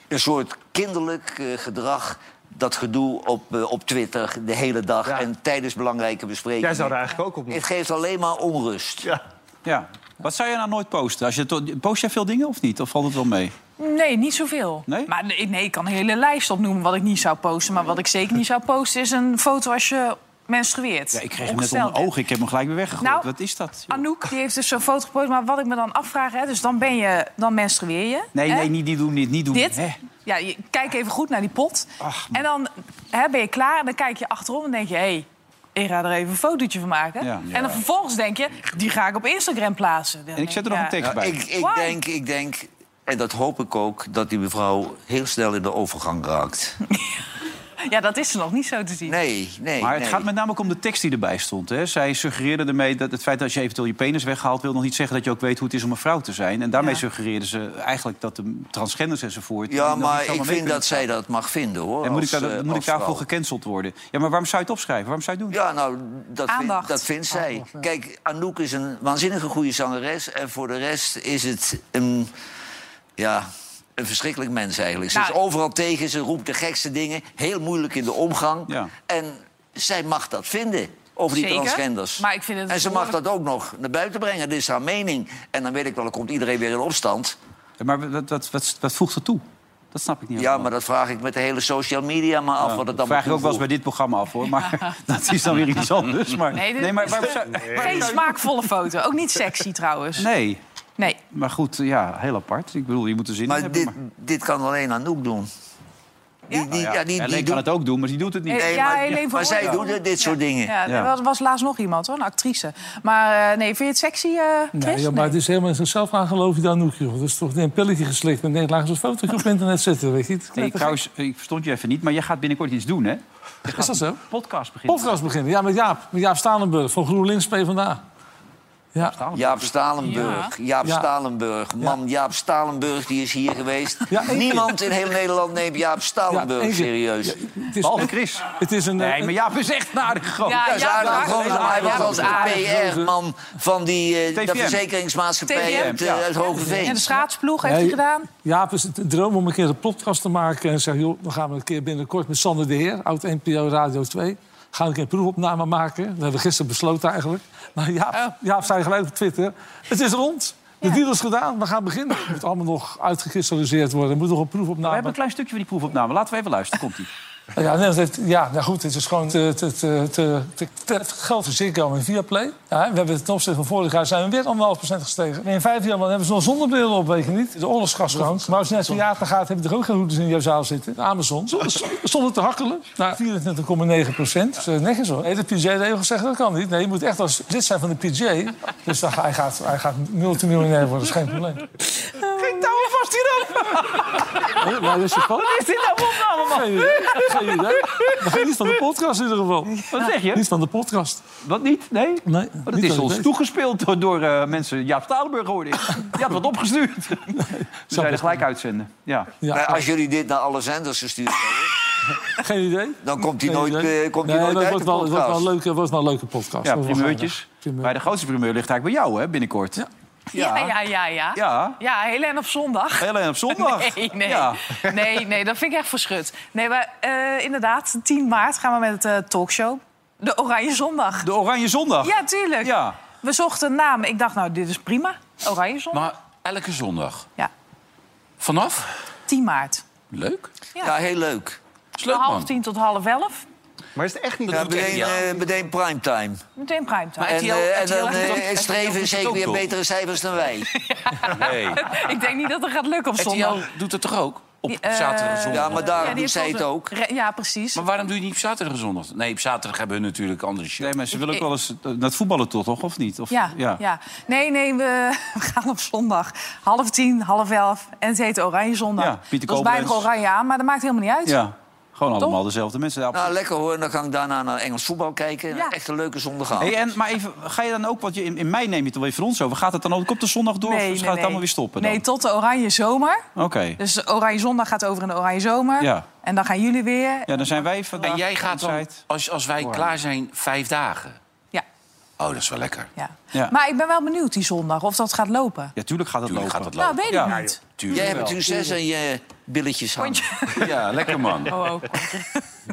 een soort kinderlijk eh, gedrag. Dat gedoe op, eh, op Twitter de hele dag
Ja.
en tijdens belangrijke besprekingen.
Jij zou er eigenlijk ook op moeten.
Het geeft alleen maar onrust.
Ja.
Ja. Wat zou je nou nooit posten? Als je to- post jij veel dingen of niet? Of valt het wel mee?
Nee, niet zoveel.
Nee?
Maar nee, nee, ik kan een hele lijst opnoemen wat ik niet zou posten. Maar wat ik zeker niet zou posten is een foto als je menstrueert.
Ja, ik kreeg hem net
Ongesteld
onder
bent.
ogen. Ik heb hem gelijk weer weggegooid.
Nou,
Wat is dat? joh?
Anouk die heeft dus zo'n foto gepost. Maar wat ik me dan afvraag, hè, dus dan, ben je, dan menstrueer je.
Nee,
hè?
nee, niet die doen, dit niet doen.
Dit?
Hè?
Ja, je, kijk even goed naar die pot.
Ach,
en dan hè, ben je klaar en dan kijk je achterom en denk je... Hey, ik ga er even een fotootje van maken.
Ja.
En dan vervolgens denk je, die ga ik op Instagram plaatsen. Dan
En ik zet er nog
denk
een tekst
ja.
bij.
Nou, Ah, Ik, ik,
Why?
denk, ik denk, en dat hoop ik ook, dat die mevrouw heel snel in de overgang raakt.
Ja, dat is er nog niet zo te zien.
Nee, nee.
Maar het
nee.
gaat met name ook om de tekst die erbij stond. Hè? Zij suggereerde ermee dat het feit dat je eventueel je penis weghaalt... wil nog niet zeggen dat je ook weet hoe het is om een vrouw te zijn. En daarmee
Ja.
suggereerden ze eigenlijk dat de transgenders enzovoort... die
Ja,
nog niet
maar
zomaar
ik
mee
vind
kunnen
dat
staan.
zij dat mag vinden, hoor.
En moet ik,
als,
daar-
eh,
moet ik
als
daarvoor
vrouw.
gecanceld worden? Ja, maar waarom zou je het opschrijven? Waarom zou je het doen?
Ja, nou, dat, vind-
Aandacht.
dat vindt zij. Kijk, Anouk is een waanzinnige goede zangeres. En voor de rest is het een, ja, een verschrikkelijk mens eigenlijk. Ze is
Nou,
overal tegen, ze roept de gekste dingen. Heel moeilijk in de omgang.
Ja.
En zij mag dat vinden over die
Zeker,
transgenders.
maar ik vind het
en ze mag
behoorlijk-
dat ook nog naar buiten brengen. Dit is haar mening. En dan weet ik wel, dan komt iedereen weer in opstand.
Maar wat, wat, wat, wat voegt dat toe? Dat snap ik niet.
Ja,
helemaal.
maar dat vraag ik met de hele social media maar af. Wat het dan
dat vraag ik ook wel eens bij
toevoegt.
dit programma af, hoor. Maar dat is dan weer iets anders. Maar,
Nee, dit-
maar waarom zou-
Geen smaakvolle foto. Ook niet sexy trouwens.
nee,
Nee.
maar goed, ja, heel apart. Ik bedoel, je moet er zin in
Maar
hebben.
dit, dit kan alleen Anouk doen. Die, die,
Ja,
ja, die,
Helene
die
kan
doet
het ook doen, maar die doet het niet.
Nee,
Nee,
ja,
maar-
Helene van
maar zij
Hooydonk.
doet dit soort dingen.
Ja,
Ja.
er was, was laatst nog iemand, hoor, een actrice. Maar eh, nee, vind je het sexy, eh
Nee,
Chris?
ja, maar het is helemaal in zichzelf aan geloof je daar nog, joh. Dat is toch een pilletje geslikt en denk, laat eens een fotootje
Ah.
op internet zetten, weet je. Het
Hey, trouwens, ik verstond je even niet, maar jij gaat binnenkort iets doen, hè?
is dat zo?
Podcast beginnen.
Podcast beginnen. Ja, met Jaap. Met Jaap Stalenburg van GroenLinks PvdA. Ja.
Jaap Stalenburg. Jaap
Ja.
Stalenburg. Man, Jaap Stalenburg die is hier geweest.
Ja, één keer.
Niemand in heel Nederland neemt Jaap Stalenburg
één keer.
serieus.
Het is,
Behalve Chris.
het is een...
Nee, maar Jaap is echt naar de groot.
Ja,
Dat is
ja,
aardig.
ja,
Gewoon,
ja,
hij
ja,
was
dat
als
is aardig.
PR-man van die eh, dat
TVM.
verzekeringsmaatschappij
TVM,
uit, eh,
ja.
uit
En de
Hogeveen.
schaatsploeg heeft hij
Nee.
gedaan.
Jaap is het de droom om een keer een podcast te maken. En zeg, joh, dan gaan we een keer binnenkort met Sander de Heer, oud NPO Radio 2. Gaan we een keer een proefopname maken. Dat hebben we gisteren besloten eigenlijk. Maar Jaap, Jaap zei gelijk op Twitter, het is rond. De deal is gedaan, we gaan beginnen. Het moet allemaal nog uitgekristalliseerd worden. Er moet nog een
We
proefopname.
hebben een klein stukje van die proefopname. Laten we even luisteren. Komt-ie.
Ja, nee, dat heeft- ja nou goed, het is gewoon te, te, te, te, te- te- het geld voor Ziggo en Viaplay. Ja, we hebben ten opzichte van vorig jaar zijn we weer 1,5% gestegen. En in vijf jaar man, hebben ze nog zonnebrillen op, weet je niet. De oorlogsgas gewoon. Maar als je naar theater gaat, heb je er ook geen hoeders in jouw zaal zitten. Amazon, zonder, zonder te hakkelen. Nou, 24,9 procent. Dat is eh, netjes hoor. Nee, de PJ-regels zeggen dat kan niet. Nee, je moet echt als lid zijn van de PJ. Dus dan, ga- hij, gaat, hij gaat multimiljonair worden, dat is geen probleem.
Geen touwen vast hierop.
Nou, is je
Wat is dit nou voor opname, man?
Geen idee. Geen idee. Maar niet van de podcast in ieder geval.
Wat zeg je?
Niet van de podcast.
Wat niet? Nee? Maar
Nee,
dat is ons toegespeeld door, door eh, mensen. Jaap Stalenburg hoorde ik. Die had wat opgestuurd. Ze zijn er gelijk uitzenden. Ja.
Maar als jullie dit naar alle zenders gestuurd hebben,
Geen idee.
dan komt die
Geen
nooit,
idee.
eh, komt die
Nee,
nooit
dat
uit
wordt
de
wel, wordt wel
podcast.
een leuke, wordt wel een leuke podcast. Dat
Ja,
wordt wel
primeurtjes.
geinig. Primeur.
Maar de grootste primeur ligt eigenlijk bij jou, hè, binnenkort. Ja.
Ja, ja, ja, ja. Ja,
Ja.
Helen op zondag.
Helene op zondag.
Nee, nee.
Ja.
nee, nee, dat vind ik echt verschut. Nee, maar eh, inderdaad, 10 maart gaan we met de talkshow. De Oranje Zondag.
De Oranje Zondag.
Ja, tuurlijk.
Ja.
We zochten een naam. Ik dacht, nou, dit is prima. Oranje Zondag.
Maar elke zondag.
Ja,
Vanaf?
10 maart.
Leuk.
Ja.
Ja, heel leuk.
Is leuk,
Van half
man.
tien tot half elf.
Maar is het echt niet...
Dat
Ja,
doet echt-
meteen,
ja.
eh, meteen primetime.
Meteen primetime.
En,
RTL
eh, en dan
doet
eh,
dat- RTL doet
streven
dat
is zeker
ook,
weer
toch?
betere cijfers dan wij.
Nee.
Ik denk niet dat het gaat lukken op zondag.
RTL doet dat toch ook? Op
Die, eh,
zaterdag en zondag?
Ja, maar
Ja,
daar
die
doet zij
heeft
het
wel
ook.
zo'n- Ja, precies.
Maar waarom doe je niet op zaterdag en zondag? Nee, op zaterdag hebben we natuurlijk andere shows.
Nee, maar ze willen ook wel eens eh, naar het voetballen toch, toch? Of niet? Of,
Ja, ja. Nee, nee, we, we gaan op zondag. Half tien, half elf. En het heet Oranje Zondag.
Ja, Pieter
dat is bijna
Koblenz.
oranje aan, maar dat maakt helemaal niet uit.
Ja. Gewoon allemaal dezelfde mensen. Ja,
Nou, lekker hoor. En dan ga ik daarna naar Engels voetbal kijken.
Ja.
Echt een leuke zondagavond.
Hey, en, maar even, ga je dan ook, want je, in, in mei neem je het alweer voor ons over. Gaat het dan ook op de zondag door? of gaat Dus het allemaal weer stoppen dan?
Nee, tot de Oranje Zomer.
Oké.
Dus Oranje Zondag gaat over in de Oranje Zomer.
Ja.
En dan gaan jullie weer.
Ja, dan zijn wij vandaag...
En jij gaat dan,
Inside.
als, als wij klaar zijn, vijf dagen.
Ja.
Oh, dat is wel lekker.
Ja.
Ja.
Maar ik ben wel benieuwd die zondag of dat gaat lopen.
Ja, tuurlijk gaat het
Tuurlijk
lopen.
gaat dat
Nou,
lopen.
weet ik
Ja.
niet.
Tuurlijk
Jij hebt
wel.
natuurlijk zes en je billetjes hangen.
Ja, lekker man.
Oh, oh.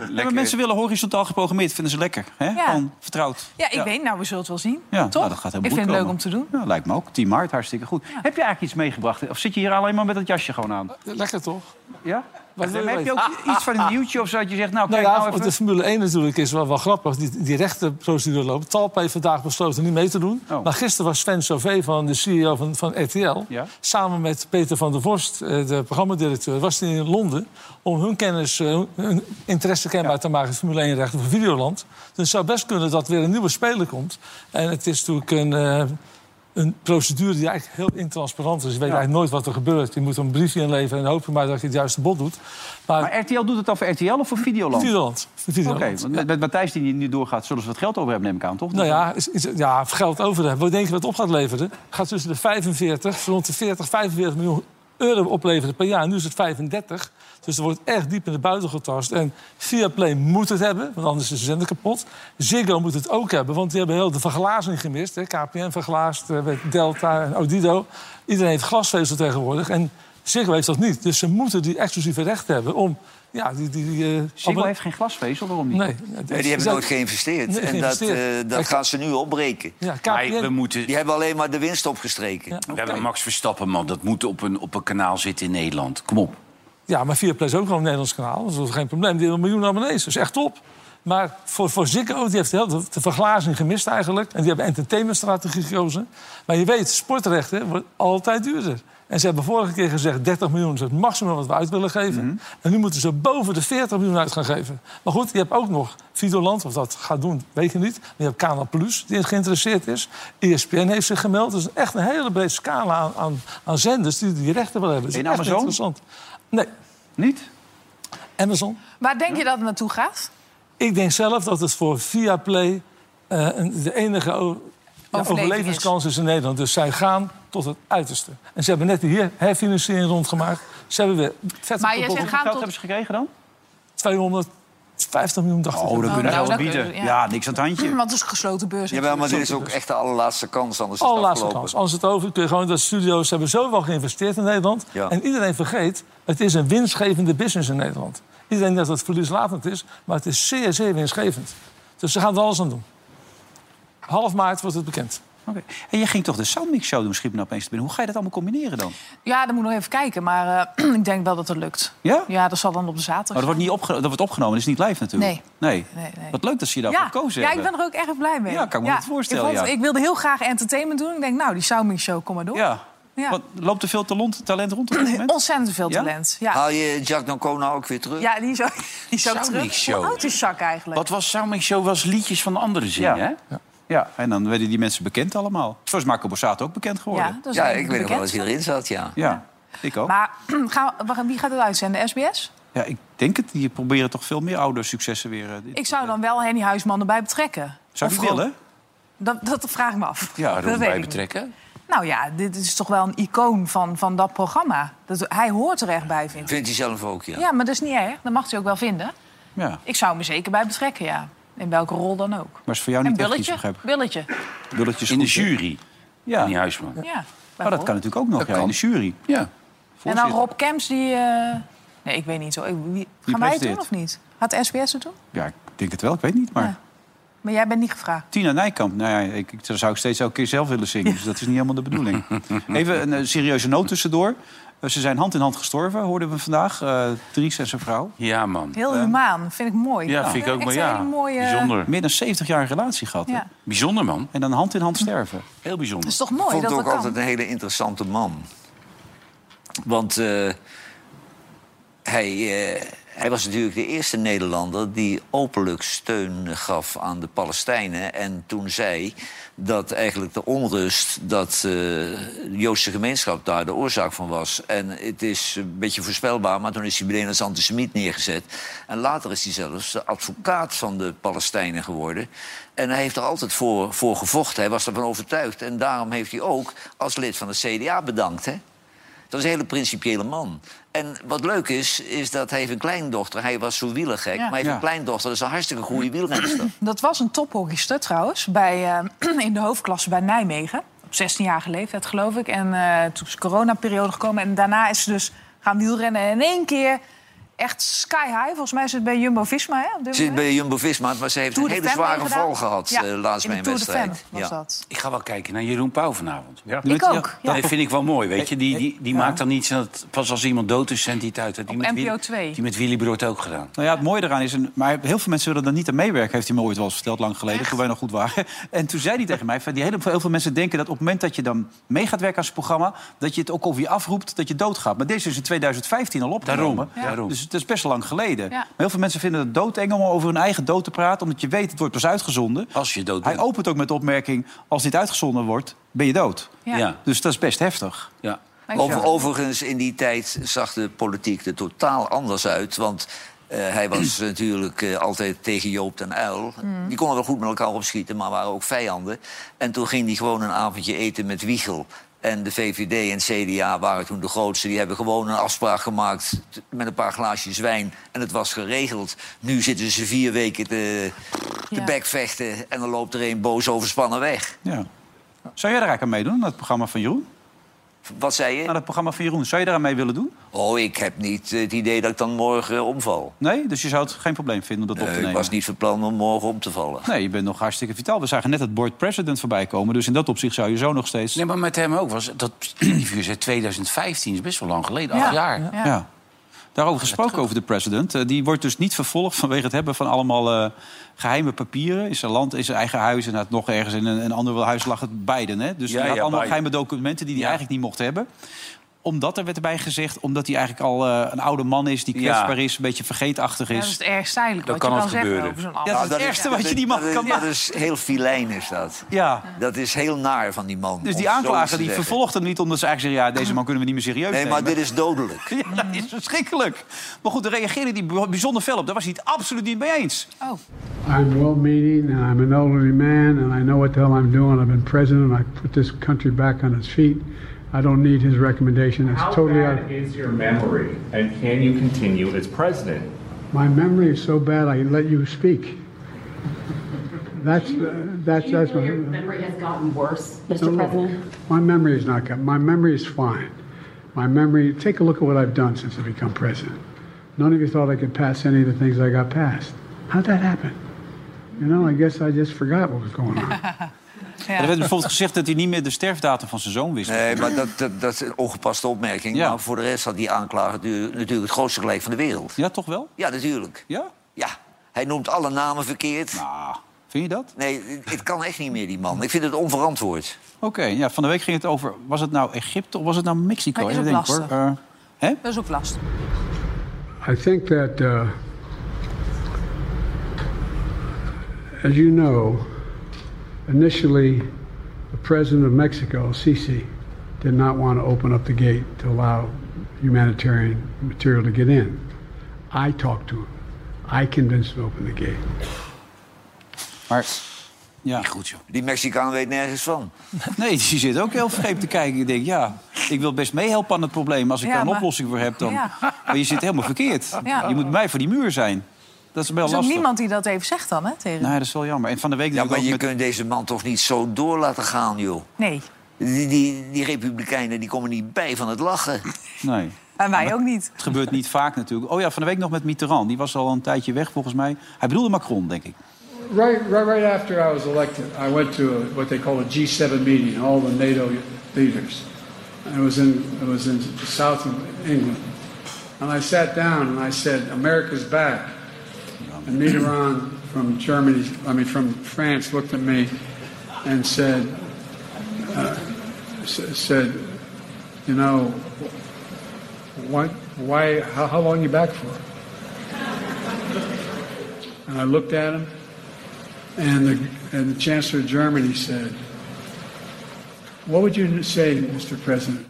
Ja, maar mensen willen horizontaal geprogrammeerd, vinden ze lekker. Hè?
Ja.
Gewoon vertrouwd.
Ja, ik weet, nou, we zullen het wel zien.
Ja,
Toch?
nou, dat gaat helemaal
ik vind
goed
het
komen.
leuk om te doen.
Ja, lijkt me ook. 10 maart, hartstikke goed. Heb je eigenlijk iets meegebracht? Of zit je hier alleen maar met dat jasje gewoon aan?
Lekker toch?
Ja?
Wat wil je
heb je
weten?
ook iets van een nieuwtje of zo dat je zegt... Nou,
Nou
kijk
ja,
nou even...
de Formule 1 natuurlijk is wel, wel grappig. Die, die rechtenprocedure loopt. Talpa heeft vandaag besloten niet mee te doen.
Oh.
Maar gisteren was Sven Sauvé van de CEO van, van RTL...
Ja.
samen met Peter van der Vorst, eh, de programmadirecteur... was hij in Londen om hun kennis, eh, hun interesse kenbaar te maken... in Formule 1-rechten voor Videoland. Dus het zou best kunnen dat weer een nieuwe speler komt. En het is natuurlijk een... eh, een procedure die eigenlijk heel intransparant is. Je weet eigenlijk nooit wat er gebeurt. Je moet een briefje inleveren en hopen maar dat je het juiste bod doet. Maar,
Maar RTL doet het dan voor RTL of voor Videoland?
Videoland.
Oké,
Videoland.
want met, met Matthijs die niet doorgaat... zullen ze wat geld over hebben, neem ik aan, toch?
Nou ja, is, is- ja, geld over hebben. Wat denk je wat het op gaat leveren? Gaat tussen de 45, rond de 40, 45 miljoen euro opleveren per jaar. Nu is het 35. Dus eh, er wordt echt diep in de buiten getast. En Viaplay moet het hebben, want anders is de zender kapot. Ziggo moet het ook hebben, want die hebben heel de verglazing gemist. Hè. KPN verglaasd, eh, met Delta en Odido. Iedereen heeft glasvezel tegenwoordig. En Ziggo heeft dat niet. Dus ze moeten die exclusieve rechten hebben om... Ja, die... die, die eh,
Ziggo
abonne-
heeft geen glasvezel, waarom niet?
Nee,
Nee, die hebben nooit geïnvesteerd.
Nee,
en dat,
geïnvesteerd.
eh, dat
Kijk.
gaan ze nu opbreken.
Ja,
Maar we
KPN...
moeten...
Die hebben alleen maar de winst opgestreken.
We hebben Max Verstappen, man. Dat moet op een, op een kanaal zitten in Nederland. Kom op.
Ja, maar Viaplay is ook gewoon een Nederlands kanaal. Dus dat is geen probleem. Die hebben een miljoen abonnees. Dat is echt top. Maar voor, voor Ziggo, die heeft heel de, de verglazing gemist eigenlijk. En die hebben entertainmentstrategie gekozen. Maar je weet, sportrechten worden altijd duurder. En ze hebben vorige keer gezegd 30 miljoen is het maximum wat we uit willen geven.
Mhm.
En nu moeten ze boven de 40 miljoen uit gaan geven. Maar goed, je hebt ook nog Videoland, of dat gaat doen, weet je niet. Maar je hebt Canal Plus, die geïnteresseerd is. E ESPN heeft zich gemeld. Dus echt een hele brede scala aan, aan, aan zenders die die rechten willen hebben. Dat is
In
echt
Amazon?
interessant. Nee,
Niet? Nou,
Amazon.
Waar denk je dat het naartoe gaat?
Ik denk zelf dat het voor Viaplay eh, een- de enige o- ja,
Overleving
overlevingskans is in Nederland. Dus zij gaan tot het uiterste. En ze hebben net hier herfinanciering rondgemaakt. Ze hebben weer vet
Maar jij
op de
zegt
pot.
gaan
Geld
tot...
hebben ze gekregen
Oh,
dan?
250 miljoen, dacht ik.
Oh, dat kunnen ze
nou,
wel
dat
bieden.
kunnen-
Ja.
ja.
niks aan het handje.
Want het is een gesloten beurs.
Jawel, maar dit is ook echt de allerlaatste kans, anders is het
Allerlaatste
afgelopen.
kans. Als het over kun je gewoon dat studio's hebben zoveel geïnvesteerd in Nederland.
Ja.
En iedereen vergeet, het is een winstgevende business in Nederland. Iedereen denkt dat het verlieslatend is, maar het is zeer, zeer winstgevend. Dus ze gaan er alles aan doen. Half maart wordt het bekend.
Oké. En jij ging toch de Soundmix Show doen, schiep me opeens te binnen. Hoe ga je dat allemaal combineren dan?
Ja, dan moet ik nog even kijken. Maar eh, ik denk wel dat het lukt.
Ja?
Ja, dat zal dan op de zaterdag.
Maar dat wordt, niet opgeno- dat wordt opgenomen, dat is niet live natuurlijk. Nee.
Nee, nee.
Wat leuk dat ze je daarvoor
Ja,
gekozen
ja,
Nou,
ik
hebben.
ben er ook erg blij mee.
Ja, kan ik me dat voorstellen,
Ik, vond-
ja.
ik wilde heel graag entertainment doen. Ik denk, nou, die Sounding Show, kom maar door.
Ja.
Ja.
Want loopt er veel talent, talent rond op dit moment?
Ontzettend veel
Ja?
talent. Ja, ja.
Haal je Jack Dancona ook weer terug?
die is ook, die is ook
Soundmix
terug.
Show.
Hoe oud is Jacques eigenlijk?
Wat was Soundmix Show? Was liedjes van anderen zingen,
Ja.
hè?
Ja, en dan werden die mensen bekend allemaal. Zo is Marco Borsato ook bekend geworden.
ja,
Ja,
dat is
Ja,
een
ik weet nog wel eens
bekend.
wie erin zat, ja.
ik ook.
Maar gaan we- wacht, wie gaat het uitzenden? SBS?
Ja, ik denk het. Die proberen toch veel meer oude successen weer. eh, dit-
Ik zou dan wel Henny Huisman erbij betrekken.
Zou
Of
je
gewoon-
willen?
Dat, dat vraag ik me af.
Ja,
dat
Waarom
weet ik
bij
niet.
betrekken?
Nou ja, dit is toch wel een icoon van, van dat programma. Dat, hij hoort er echt bij, vind ik.
Vindt hij zelf ook, ja.
Ja, maar dat is niet erg. Dat mag hij ook wel vinden.
Ja.
Ik zou me zeker bij betrekken, ja. In welke rol dan ook.
Maar is voor jou
En
niet echt iets
Billetje?
begrijp ik.
Billetje,
Billetjes
In de
goed, hè?
jury,
Ja,
die Huisman. Ja.
ja.
maar Oh, dat kan natuurlijk ook nog. Ja,
kan.
in de jury.
En dan
Voorzitter.
Rob Kemps, die... eh, Nee, ik weet niet zo. Ik- wie- Gaan wij het
presenteert?
doen of niet? Gaat SBS het doen?
Ja, ik denk het wel. Ik weet niet, maar...
Ja. Maar jij bent niet gevraagd.
Tina Nijkamp, nou ja, ik, ik- dat zou ik steeds elke keer zelf willen zingen. Dus dat is niet helemaal de bedoeling. Even een eh, serieuze noot tussendoor. Eh, ze zijn hand in hand gestorven, hoorden we vandaag. eh Dries en zijn vrouw.
Ja, man.
Heel humaan, vind ik mooi.
Ja, vind ik ook wel,
echt
ja.
Een hele mooie...
Bijzonder.
Meer dan 70 jaar een relatie gehad. hè?
Ja.
Bijzonder, man.
En dan hand in hand sterven.
Heel bijzonder.
Dat is toch
Ik
mooi
vond
dat
het
dat
ook altijd
kan?
een hele interessante man. Want eh, hij, eh, hij was natuurlijk de eerste Nederlander die openlijk steun gaf aan de Palestijnen. En toen zei dat eigenlijk de onrust, dat eh, de Joodse gemeenschap daar de oorzaak van was. En het is een beetje voorspelbaar, maar toen is hij meteen als antisemiet neergezet. En later is hij zelfs de advocaat van de Palestijnen geworden. En hij heeft er altijd voor, voor gevochten. Hij was ervan overtuigd. En daarom heeft hij ook als lid van de CDA bedankt. Hè? Dat is een hele principiële man. En wat leuk is, is dat hij heeft een kleindochter. Hij was zo wielergek, maar hij heeft
Ja.
een kleindochter. Dat is een hartstikke goede wielrenster.
Dat was een tophockeyster trouwens, bij, eh, in de hoofdklasse bij Nijmegen. Op 16-jarige leeftijd, geloof ik. En eh, toen is de coronaperiode gekomen. En daarna is ze dus gaan wielrennen. En in één keer echt sky high. Volgens mij is het bij Jumbo-Visma, hè? op dit
Ze zit
moment.
bij Jumbo-Visma, maar ze heeft
Tour
een
de
hele
Femme
zware
gedaan.
val gehad
Ja,
eh, laatst
in
bij
de
een
Tour de
wedstrijd.
Femme was dat.
Ik ga wel kijken naar Jeroen Pauw vanavond.
Ja.
Ik
Ja,
ook, ja.
Dat vind ik wel mooi, weet je. Die, die, die maakt dan iets en dat, pas als iemand dood is, zendt hij het uit. Dat die
Op
met Willy-
NPO 2.
Die met Willy Brood ook gedaan.
Nou ja, het mooie eraan is, en- maar heel veel mensen willen daar niet aan meewerken, heeft hij me ooit wel eens verteld, lang geleden, toen wij nog goed waren. En toen zei hij tegen mij, van, die hele, heel veel mensen denken dat op het moment dat je dan mee gaat werken aan zijn programma, dat je het ook over je afroept dat je doodgaat. Maar deze is in 2015 al opgenomen.
Daarom, daarom.
Dus het is best lang geleden.
Ja.
Maar heel veel mensen vinden het doodeng om over hun eigen dood te praten, omdat je weet, het wordt pas uitgezonden.
Als je dood
Hij
bent.
opent ook met de opmerking, als dit uitgezonden wordt, ben je dood.
Ja.
Ja.
Dus dat is best heftig.
ja.
Over, overigens, in die tijd zag de politiek er totaal anders uit. Want eh, hij was natuurlijk eh, altijd tegen Joop den Uyl. Die konden wel goed met elkaar opschieten, maar waren ook vijanden. En toen ging hij gewoon een avondje eten met Wiegel. En de VVD en CDA waren toen de grootste. Die hebben gewoon een afspraak gemaakt t- met een paar glaasjes wijn. En het was geregeld. Nu zitten ze vier weken te, te
Ja.
bekvechten. En dan loopt er een boos overspannen weg.
Ja. Zou jij er eigenlijk aan meedoen, aan het programma van Jeroen?
Wat zei je?
Aan het programma van Jeroen, zou je daar aan mee willen doen?
Oh, ik heb niet het idee dat ik dan morgen eh, omval.
Nee, dus je zou het geen probleem vinden om dat op te
Nee, Eh, ik
nemen?
was niet van plan om morgen om te vallen.
Nee, je bent nog hartstikke vitaal. We zagen net het board president voorbij komen. Dus in dat opzicht zou je zo nog steeds...
Nee, maar met hem ook. Was, dat interview is uit 2015, is best wel lang geleden. Acht jaar.
ja. Daarover gesproken over de president. Eh, die wordt dus niet vervolgd vanwege het hebben van allemaal eh, geheime papieren. In zijn land, in zijn eigen huis en uit nog ergens in een, een ander huis lag het Biden. Hè? Dus
Ja,
hij had
ja,
allemaal
Biden.
geheime documenten die hij
Ja.
eigenlijk niet mocht hebben. Omdat er werd erbij gezegd, omdat hij eigenlijk al eh, een oude man is... die
Ja.
kwetsbaar is, een beetje vergeetachtig
Ja, dat is
is.
het ergste eigenlijk
Dat
wat
kan
je kan
altijd
zeggen
gebeuren.
over zo'n ander.
Ja, dat is het ergste wat je die man
Nou, dat is-
kan
Dat is heel filijn, is dat.
Ja,
Dat is heel naar van die man.
dus die
om zoiets
aanklager
te
die
zeggen.
vervolgt hem niet... omdat ze eigenlijk zeggen, ja, deze man kunnen we niet meer serieus
Nee,
nemen.
maar dit is dodelijk.
Ja,
Mhm.
dat is verschrikkelijk. Maar goed, daar reageerde hij bijzonder fel op. Daar was hij het absoluut niet mee eens.
I'm well meaning and I'm an elderly man and I know what the hell I'm doing. I've been president. I put this country back on its feet. I don't need his recommendation. It's totally out.
is your memory, and can you continue as president?
My memory is so bad I let you speak. That's that's that's my,
Memory has gotten worse,
No,
Mr. President.
my memory is not good. My memory is fine. My memory. Take a look at what I've done since I become president. None of you thought I could pass any of the things I got passed. How'd that happen? you know, I guess I just forgot what was going on.
Er werd bijvoorbeeld gezegd dat hij niet meer de sterfdatum van zijn zoon wist.
Nee, maar dat, dat, dat is een ongepaste opmerking. Maar voor de rest had die aanklager du- natuurlijk het grootste gelijk van de wereld.
Ja, toch wel?
Ja, natuurlijk.
Ja?
Ja. Hij noemt alle namen verkeerd.
Nou. vind je dat?
Nee, het- het kan echt niet meer, die man. Ik vind het onverantwoord.
Oké, ja, van de week ging het over... Was het nou Egypte of was het nou Mexico?
Maar is
Even
ook
denken, hoor. Eh, hè?
Dat is ook lastig.
I think that, uh, as you know, initially the president of Mexico, Sisi, did not want to open up the gate to allow humanitarian material to get in. I talked to him. I convinced him to open the gate.
eh, Maar, ja.
Goed, joh. Die Mexicaan weet nergens van.
Nee, die zit ook heel vreemd te kijken. Ik denk, ja, ik wil best meehelpen aan het probleem. Als ik
Ja,
daar een
maar-
oplossing voor heb, dan...
Ja.
Maar je zit helemaal verkeerd.
Ja.
Je moet bij mij voor die muur zijn. Dat is wel
Er is ook
lastig.
niemand die dat even zegt dan, hè, tegen
Nee, dat is wel jammer. En van de week
Ja,
denk ik
maar
ook
je
met...
kunt deze man toch niet zo door laten gaan, joh.
Nee,
Die, die, die republikeinen die komen niet bij van het lachen.
Nee.
en wij ook niet.
Het gebeurt niet vaak natuurlijk. Oh ja, van de week nog met Mitterrand. Die was al een tijdje weg volgens mij. Hij bedoelde Macron, denk ik.
Right, right, right after I was elected, I went to a, what they call a G7 meeting, all the NATO leaders. And it was in it was in the south of England, and I sat down and I said, "America's back." And Mitterrand from Germany, I mean from France, looked at me and said, uh, s- "said, you know, what, why, how, how long you back for?" And I looked at him, and the, and the Chancellor of Germany said, What would you say, Mr. President?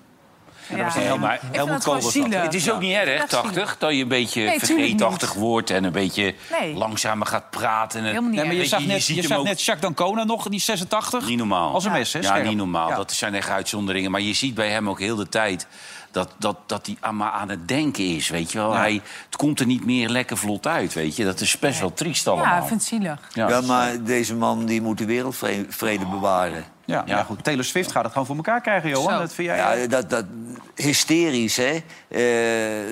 Ja,
was Helmut-
ja. Ik vind
Helmut
dat gewoon
Kohl was dat.
zielig.
Het is ook niet erg,
Echt zielig.
80, dat je een beetje
Nee, tuurlijk
vergeetachtig wordt en een beetje
Nee.
langzamer gaat praten. En
Helemaal niet
Ja,
erg.
maar
Je
je,
zag
je
net,
ziet
je
hem
zag
ook
net Jacques Dancona nog, die 86.
niet normaal.
Als een mes, hè?
Ja,
scherp.
niet normaal.
Ja.
Dat zijn echt uitzonderingen. Maar je ziet bij hem ook heel de tijd dat, dat, dat hij aan, maar aan het denken is, weet je wel. Hij, het komt er niet meer lekker vlot uit, weet je. Dat is best wel triest allemaal.
Ja, ik vind het zielig.
Ja.
Ja, maar deze man die moet de wereldvrede bewaren.
Ja, ja. goed. Taylor Swift gaat het gewoon voor elkaar krijgen, Johan.
Zo.
Dat vind jij...
Ja, dat, dat hysterisch, hè? Eh,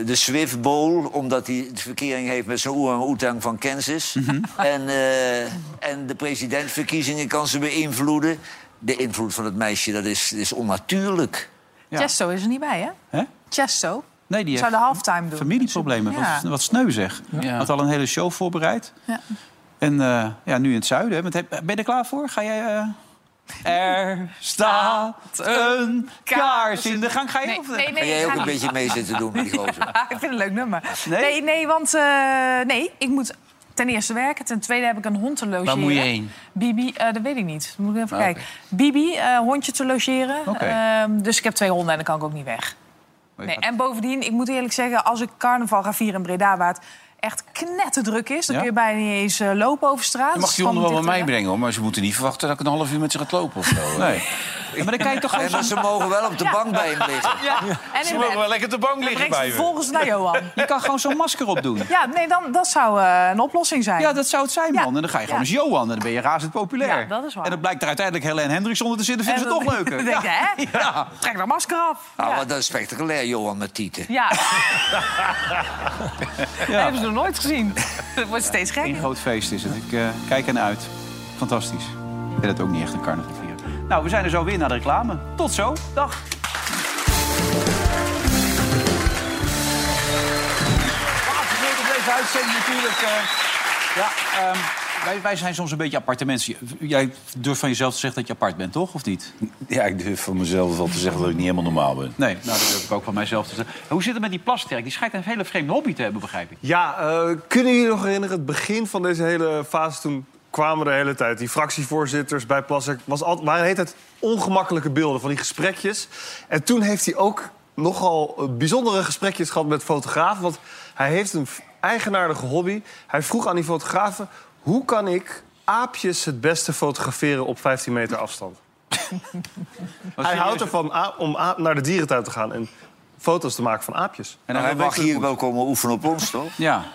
de Swift Bowl, omdat hij de verkering heeft met zijn orang-oetang van Kansas. en, eh, en de presidentverkiezingen kan ze beïnvloeden. De invloed van het meisje, dat is, is onnatuurlijk.
Ja.
Chesto is er niet bij, hè?
Hè?
Chesto.
Nee, die
Zou de
heeft
halftime doen.
familieproblemen.
Ja.
Wat, wat sneu zeg. Had al een hele show voorbereid.
Ja.
En eh, ja, nu in het zuiden. hè. Met, heb- ben je er klaar voor? Ga jij... eh, Er staat een kaars in de gang. Ga je
Nee,
of-
nee,
Ga
nee,
jij
ik
ook
ga
een
niet.
beetje mee zitten doen met die gozer?
Ah, ik vind het een leuk nummer.
Nee?
Nee, nee, want eh, nee, ik moet ten eerste werken. Ten tweede heb ik een hond te logeren.
Waar moet je heen?
Bibi, eh, dat weet ik niet. Moet ik even
Ah,
kijken. Bibi, eh, hondje te logeren.
Oké.
Ehm, dus ik heb twee honden en dan kan ik ook niet weg. Nee, en bovendien, ik moet eerlijk zeggen, als ik carnaval ga vieren in Breda... waar het echt knetterdruk is, dan
Ja?
kun je bijna niet eens eh, lopen over straat.
Je
Dat
mag
is
die honden wel
gewoon
bij mij
dichterbij.
brengen, hoor. Maar ze moeten niet verwachten dat ik een half uur met ze gaat lopen of zo.
Nee. Ja, Maar dan kan je toch
Nee,
gewoon...
maar ze mogen wel op de bank bij hem liggen.
En in bed.
lekker te bang
Dan breng ik ze vervolgens naar Johan.
Je kan gewoon zo'n masker opdoen.
Ja, nee, dan, dat zou eh, een oplossing zijn.
Ja, dat zou het zijn,
Ja.
man. En dan ga je gewoon
Ja.
eens Johan. En dan ben je razend populair.
Ja, dat is waar.
En dan blijkt er uiteindelijk Helen Hendricks onder te zitten. Vinden ze
En
het toch
dan-
leuker.
dan denk je, hè?
Ja.
Trek dat masker af.
Ah,
ja.
wat een spectaculair, Johan met tieten.
Ja. Dat hebben ze nog nooit gezien. Het wordt steeds
Een
gekker.
groot feest is het. Ik eh, kijk ernaar uit. Fantastisch. Ik ben het ook niet echt een carnaval vieren. Nou, we zijn er zo weer naar de reclame. Tot zo. Dag. Wat gebeurt op deze uitzending natuurlijk. eh, ja, ehm, wij, wij zijn soms een beetje aparte mensen. Jij durft van jezelf te zeggen dat je apart bent, toch? Of niet?
Ja, ik durf van mezelf wel te zeggen dat ik niet helemaal normaal ben.
Nee, nou, dat durf ik ook van mijzelf te zeggen. Hoe zit het met die plasterk? Die schijnt een hele vreemde hobby te hebben, begrijp ik.
Ja, eh, kunnen jullie nog herinneren het begin van deze hele fase? Toen kwamen de hele tijd die fractievoorzitters bij Plassek. Was al, waren de hele tijd ongemakkelijke beelden van die gesprekjes. En toen heeft hij ook nogal eh, bijzondere gesprekjes gehad met fotografen. Want hij heeft een f- eigenaardige hobby. Hij vroeg aan die fotografen... hoe kan ik aapjes het beste fotograferen op 15 meter afstand? hij houdt ervan a- om a- naar de dierentuin te gaan... en foto's te maken van aapjes.
En
Maar Nou, hij
weet
mag
je-
hier wel komen oefenen op ons, toch?
Ja.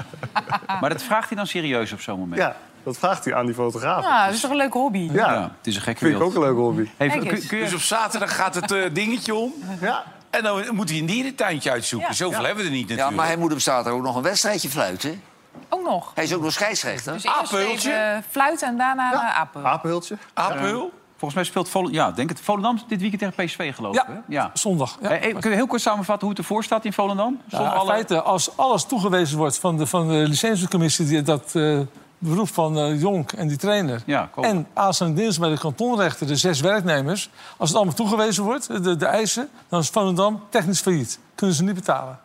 Maar dat vraagt hij dan serieus op zo'n moment.
Ja, dat vraagt hij aan die fotografen.
Ja, Ah, dat is toch een leuke hobby?
Ja,
het is een gekke
vind ik
wereld.
ook een leuke hobby.
Hey,
Kijk
kun,
eens.
kun je,
Dus op zaterdag gaat het eh, dingetje om.
Ja.
En dan moet hij een dierentuintje uitzoeken. Zoveel hebben we er niet
Ja,
natuurlijk.
maar hij moet op zaterdag ook nog een wedstrijdje fluiten.
Ook nog.
Hij is ook nog scheidsrechter.
Dus eerst even fluiten en daarna eh, apen.
Apenhultje?
Apel? Volgens mij speelt Vol ja, ik denk het, Volendam dit weekend tegen PSV geloof ik.
Ja,
hè? ja.
zondag. Ja.
Eh, eh, kun je heel kort samenvatten hoe het ervoor staat in Volendam?
Ja,
Zonder
in
alle-
feite, eh, als alles toegewezen wordt van de, van de licentiecommissie... Die, dat eh, beroep van eh, Jonk en die trainer...
Ja, kom.
en aanstaande dinsdag bij de kantonrechter, de zes werknemers... als het allemaal toegewezen wordt, de, de eisen... dan is Volendam technisch failliet. Kunnen ze niet betalen.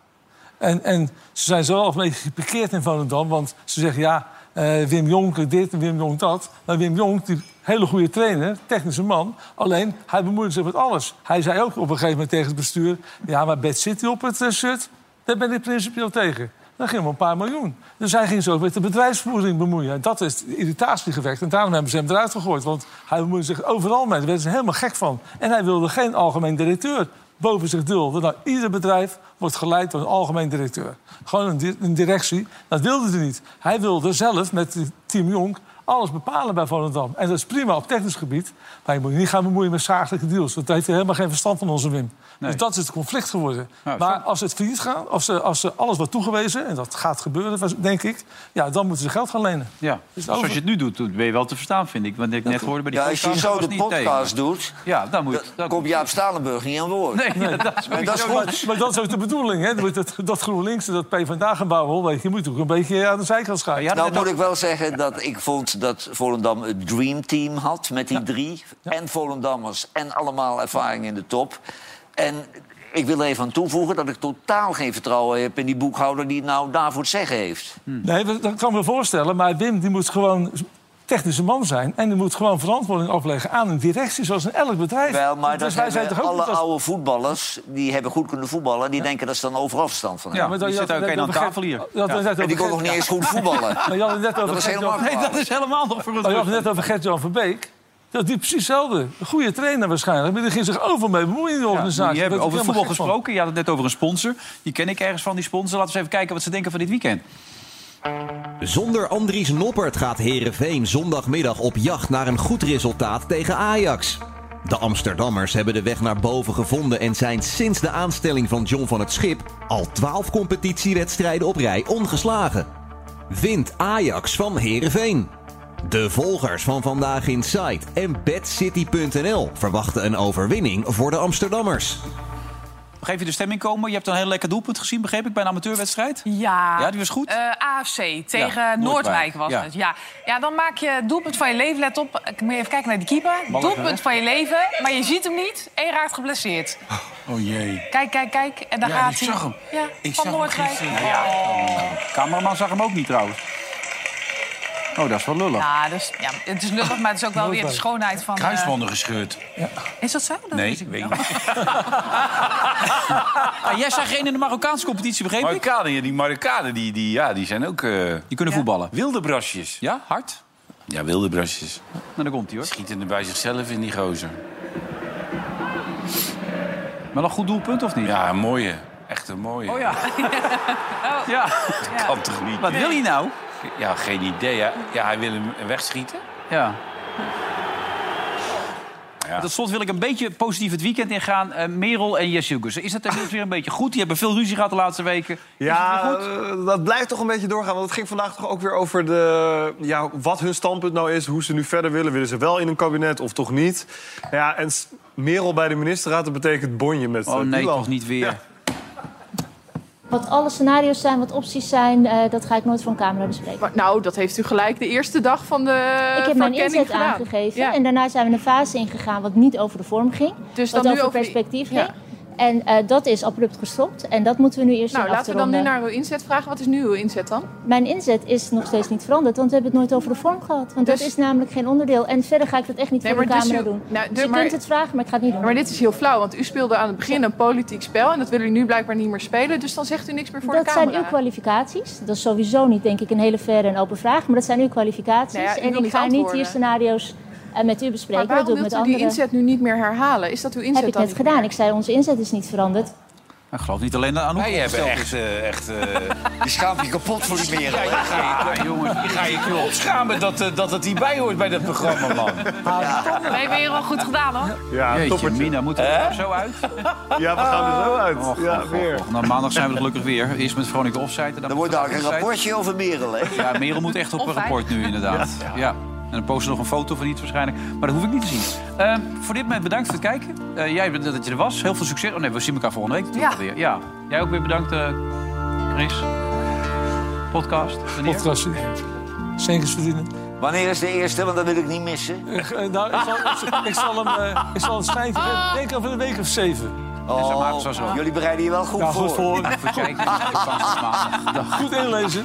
En, en ze zijn zo al een beetje gepikeerd in Volendam. Want ze zeggen, ja, eh, Wim Jonk dit en Wim Jonk dat. Maar Wim Jonk, die hele goede trainer, technische man... alleen, hij bemoeide zich met alles. Hij zei ook op een gegeven moment tegen het bestuur... ja, maar Bad City op het eh, shirt, daar ben ik principieel tegen. Dat ging om een paar miljoen. Dus hij ging zich ook met de bedrijfsvoering bemoeien. En dat is de irritatie gewekt. En daarom hebben ze hem eruit gegooid. Want hij bemoeide zich overal mee. Daar werden ze helemaal gek van. En hij wilde geen algemeen directeur boven zich dulden. Nou, ieder bedrijf wordt geleid door een algemeen directeur. Gewoon een, di- een directie. Dat wilde hij niet. Hij wilde zelf met eh, Team Jong alles bepalen bij Volendam. En dat is prima op technisch gebied. Maar je moet je niet gaan bemoeien met zakelijke deals. Want daar heeft hij helemaal geen verstand van, onze Wim. Dus dat is het conflict geworden.
Nou,
maar als ze het failliet gaan, als, ze, als ze alles wordt toegewezen... en dat gaat gebeuren, denk ik... ja, dan moeten ze geld gaan lenen.
Ja,
Is het
zoals
over?
je het nu doet, ben je wel te verstaan, vind ik. Want ik net hoorde bij die
Ja, als je
podcast,
zo
was
de
niet tegen.
podcast doet,
Ja, dan moet je...
dan komt Jaap Stalenburg niet aan woord.
Nee, dat is
En dat is goed.
Maar, maar dat is ook de bedoeling, hè? Dat, dat, dat GroenLinks en dat PvdA gaan bouwen... weet je, je moet ook een beetje aan de zijkant schuiven.
Ja,
Nou
dat-
moet ik wel zeggen dat ik vond dat Volendam het dream team had met die drie. En Volendammers en allemaal ervaring in de top. En ik wil er even aan toevoegen dat ik totaal geen vertrouwen heb in die boekhouder die het nou daarvoor het zeggen heeft.
Nee, dat dat kan ik me voorstellen. Maar Wim die moet gewoon technische man zijn. En die moet gewoon verantwoording afleggen aan een directie, zoals in elk bedrijf.
Wel, maar
Dus
dat
wij zijn
hebben
toch ook
alle
niet als-
oude voetballers die hebben goed kunnen voetballen... en die denken dat ze dan overal verstand van
Ja,
hebben.
maar dat- je
die zit
had-
ook
dat-
een
dat
aan
begreep-
tafel
je
hier.
had het net
En
over
die kon nog
Gert-
niet eens goed voetballen.
Maar je had het net over
Dat was
Gert-
helemaal
Nee, dat is helemaal nog voor
maar Oh, je had
het
het net over Gert-Jan van Beek. Dat die precies hetzelfde. Een goede trainer waarschijnlijk. Maar die ging zich overal mee bemoeien in de
Ja,
organisatie.
die hebben
Daar
over
werd ik
voetbal
helemaal gek
gesproken. Je had het net over een sponsor. Die ken ik ergens van, die sponsor. Laten we eens even kijken wat ze denken van dit weekend.
Zonder Andries Noppert gaat Herenveen zondagmiddag op jacht naar een goed resultaat tegen Ajax. De Amsterdammers hebben de weg naar boven gevonden en zijn sinds de aanstelling van John van het Schip al 12 competitiewedstrijden op rij ongeslagen. Wint Ajax van Herenveen. De volgers van vandaag Inside en BadCity.nl verwachten een overwinning voor de Amsterdammers.
Geef je de stemming komen. Je hebt een heel lekker doelpunt gezien, begreep ik, bij een amateurwedstrijd.
Ja.
Ja, die was goed.
Eh, AFC tegen
Ja, Noordwijk,
Noordwijk was
ja.
het. Ja. ja, dan maak je het doelpunt van je leven. Let op, ik moet even kijken naar die keeper. doelpunt van je leven, maar je ziet hem niet en je raakt geblesseerd.
Oh jee.
Kijk, kijk, kijk. En daar
Ja,
gaat
ik
hij.
zag hem.
Ja,
Ik
van
zag hem
Noordwijk.
gisteren.
Cameraman zag hem ook niet trouwens. Oh, dat is wel lullig.
Ja, dus, ja, het is lullig, maar het is ook wel weer de schoonheid van... eh,
Kruisbanden gescheurd.
is dat zo? Dat
Nee,
weet ik
weet ik niet.
Ah, jij zag geen in de Marokkaanse competitie, begreep ik?
Marokkanen, ja, die Marokkanen, die, die, ja, die zijn ook... eh
Die kunnen voetballen.
wilde brasjes.
Ja, hard.
Ja, wilde brasjes.
Nou, daar komt hij hoor.
Schieten er bij zichzelf in, die gozer.
Maar een goed doelpunt of niet?
Ja, een mooie. Echt een mooie.
Oh ja. ja.
Kan toch niet?
Wat wil hij nou?
Ja, geen idee. Hè? Ja, hij wil hem wegschieten.
Ja. Tot slot wil ik een beetje positief het weekend ingaan. Eh, Merel en Jesse Hugussen. Is dat inmiddels weer een beetje goed? Die hebben veel ruzie gehad de laatste weken. Is het weer
Ja,
goed?
eh, dat blijft toch een beetje doorgaan. Want het ging vandaag toch ook weer over de, ja, wat hun standpunt nou is. Hoe ze nu verder willen. Willen ze wel in een kabinet of toch niet? Ja, en s- Merel bij de ministerraad, dat betekent bonje met
Oh
eh,
nee,
Doelan.
toch niet weer.
Wat alle scenario's zijn, wat opties zijn, eh, dat ga ik nooit voor een camera bespreken.
Nou, dat heeft u gelijk de eerste dag van de
ik heb mijn
verkenning
inzet
gedaan.
aangegeven
Ja.
en daarna zijn we een fase ingegaan wat niet over de vorm ging,
Dus
wat
dan nu
over
over die-
perspectief
Ja.
ging. En eh, dat is abrupt gestopt en dat moeten we nu eerst
Nou,
zien af te
laten we dan nu
ronden.
naar uw inzet vragen. Wat is nu uw inzet dan?
Mijn inzet is nog steeds niet veranderd, want we hebben het nooit over de vorm gehad. Want dat
Dus-
is namelijk geen onderdeel en verder ga ik dat echt niet
Nee,
voor de
maar dus
camera
u-
doen.
nou,
dus
de-
je
maar-
kunt het vragen, maar ik ga het niet doen.
Maar dit is heel flauw, want u speelde aan het begin een politiek spel. En dat wil u nu blijkbaar niet meer spelen. Dus dan zegt u niks meer voor
dat
de camera.
zijn uw kwalificaties. Dat is sowieso niet, denk ik, een hele verre en open vraag. Maar dat zijn uw kwalificaties.
Nou ja, u wil
en ik
niet
ga niet
antwoorden.
hier scenario's eh, met u
maar
bespreken. dat
waarom
doe ik
wilt
met
u die
anderen.
inzet nu niet meer herhalen? Is dat uw inzet
heb ik
dan
net
niet
gedaan.
meer?
Ik zei, onze inzet is niet veranderd.
Ik geloof niet alleen aan
Wij
hoe
hebben echt... eh, echt eh,
Die schaamt je kapot voor die merel.
Ja, je ga je, jongens, je ga je knop schamen dat, eh, dat het hierbij hoort bij dat programma, man.
We hebben hier al goed gedaan, hoor.
Ja,
Jeetje,
toppertje.
Mina, moeten we er zo uit?
Ja, we gaan er zo uit. ja, weer.
Och, nou, maandag zijn we er gelukkig weer. Eerst met Veronica Offside. en Dan,
wordt
met
daar een
Offside.
rapportje over Merel, hè?
Ja, Merel moet echt op een
Offside.
rapport nu, inderdaad. Ja. En dan posten we nog een foto van iets waarschijnlijk. Maar dat hoef ik niet te zien. Ehm, voor dit moment bedankt voor het kijken. Eh, jij bedankt dat je er was. Heel veel succes. Oh nee, we zien elkaar volgende week natuurlijk
Ja.
alweer. Ja. Jij ook weer bedankt, eh, Chris. Podcast. wanneer?
Podcast. Zenkens eh, verdienen.
Wanneer is de eerste? Want dat wil ik niet missen.
Eh, nou, ik zal, ik zal hem, eh, ik zal het schrijven. Ik Denk over een week of zeven.
Oh,
zo, zo.
jullie bereiden je wel goed
Ja,
voor.
goed voor.
Dank voor het kijken. Tot maandag. Dag.
Goed inlezen.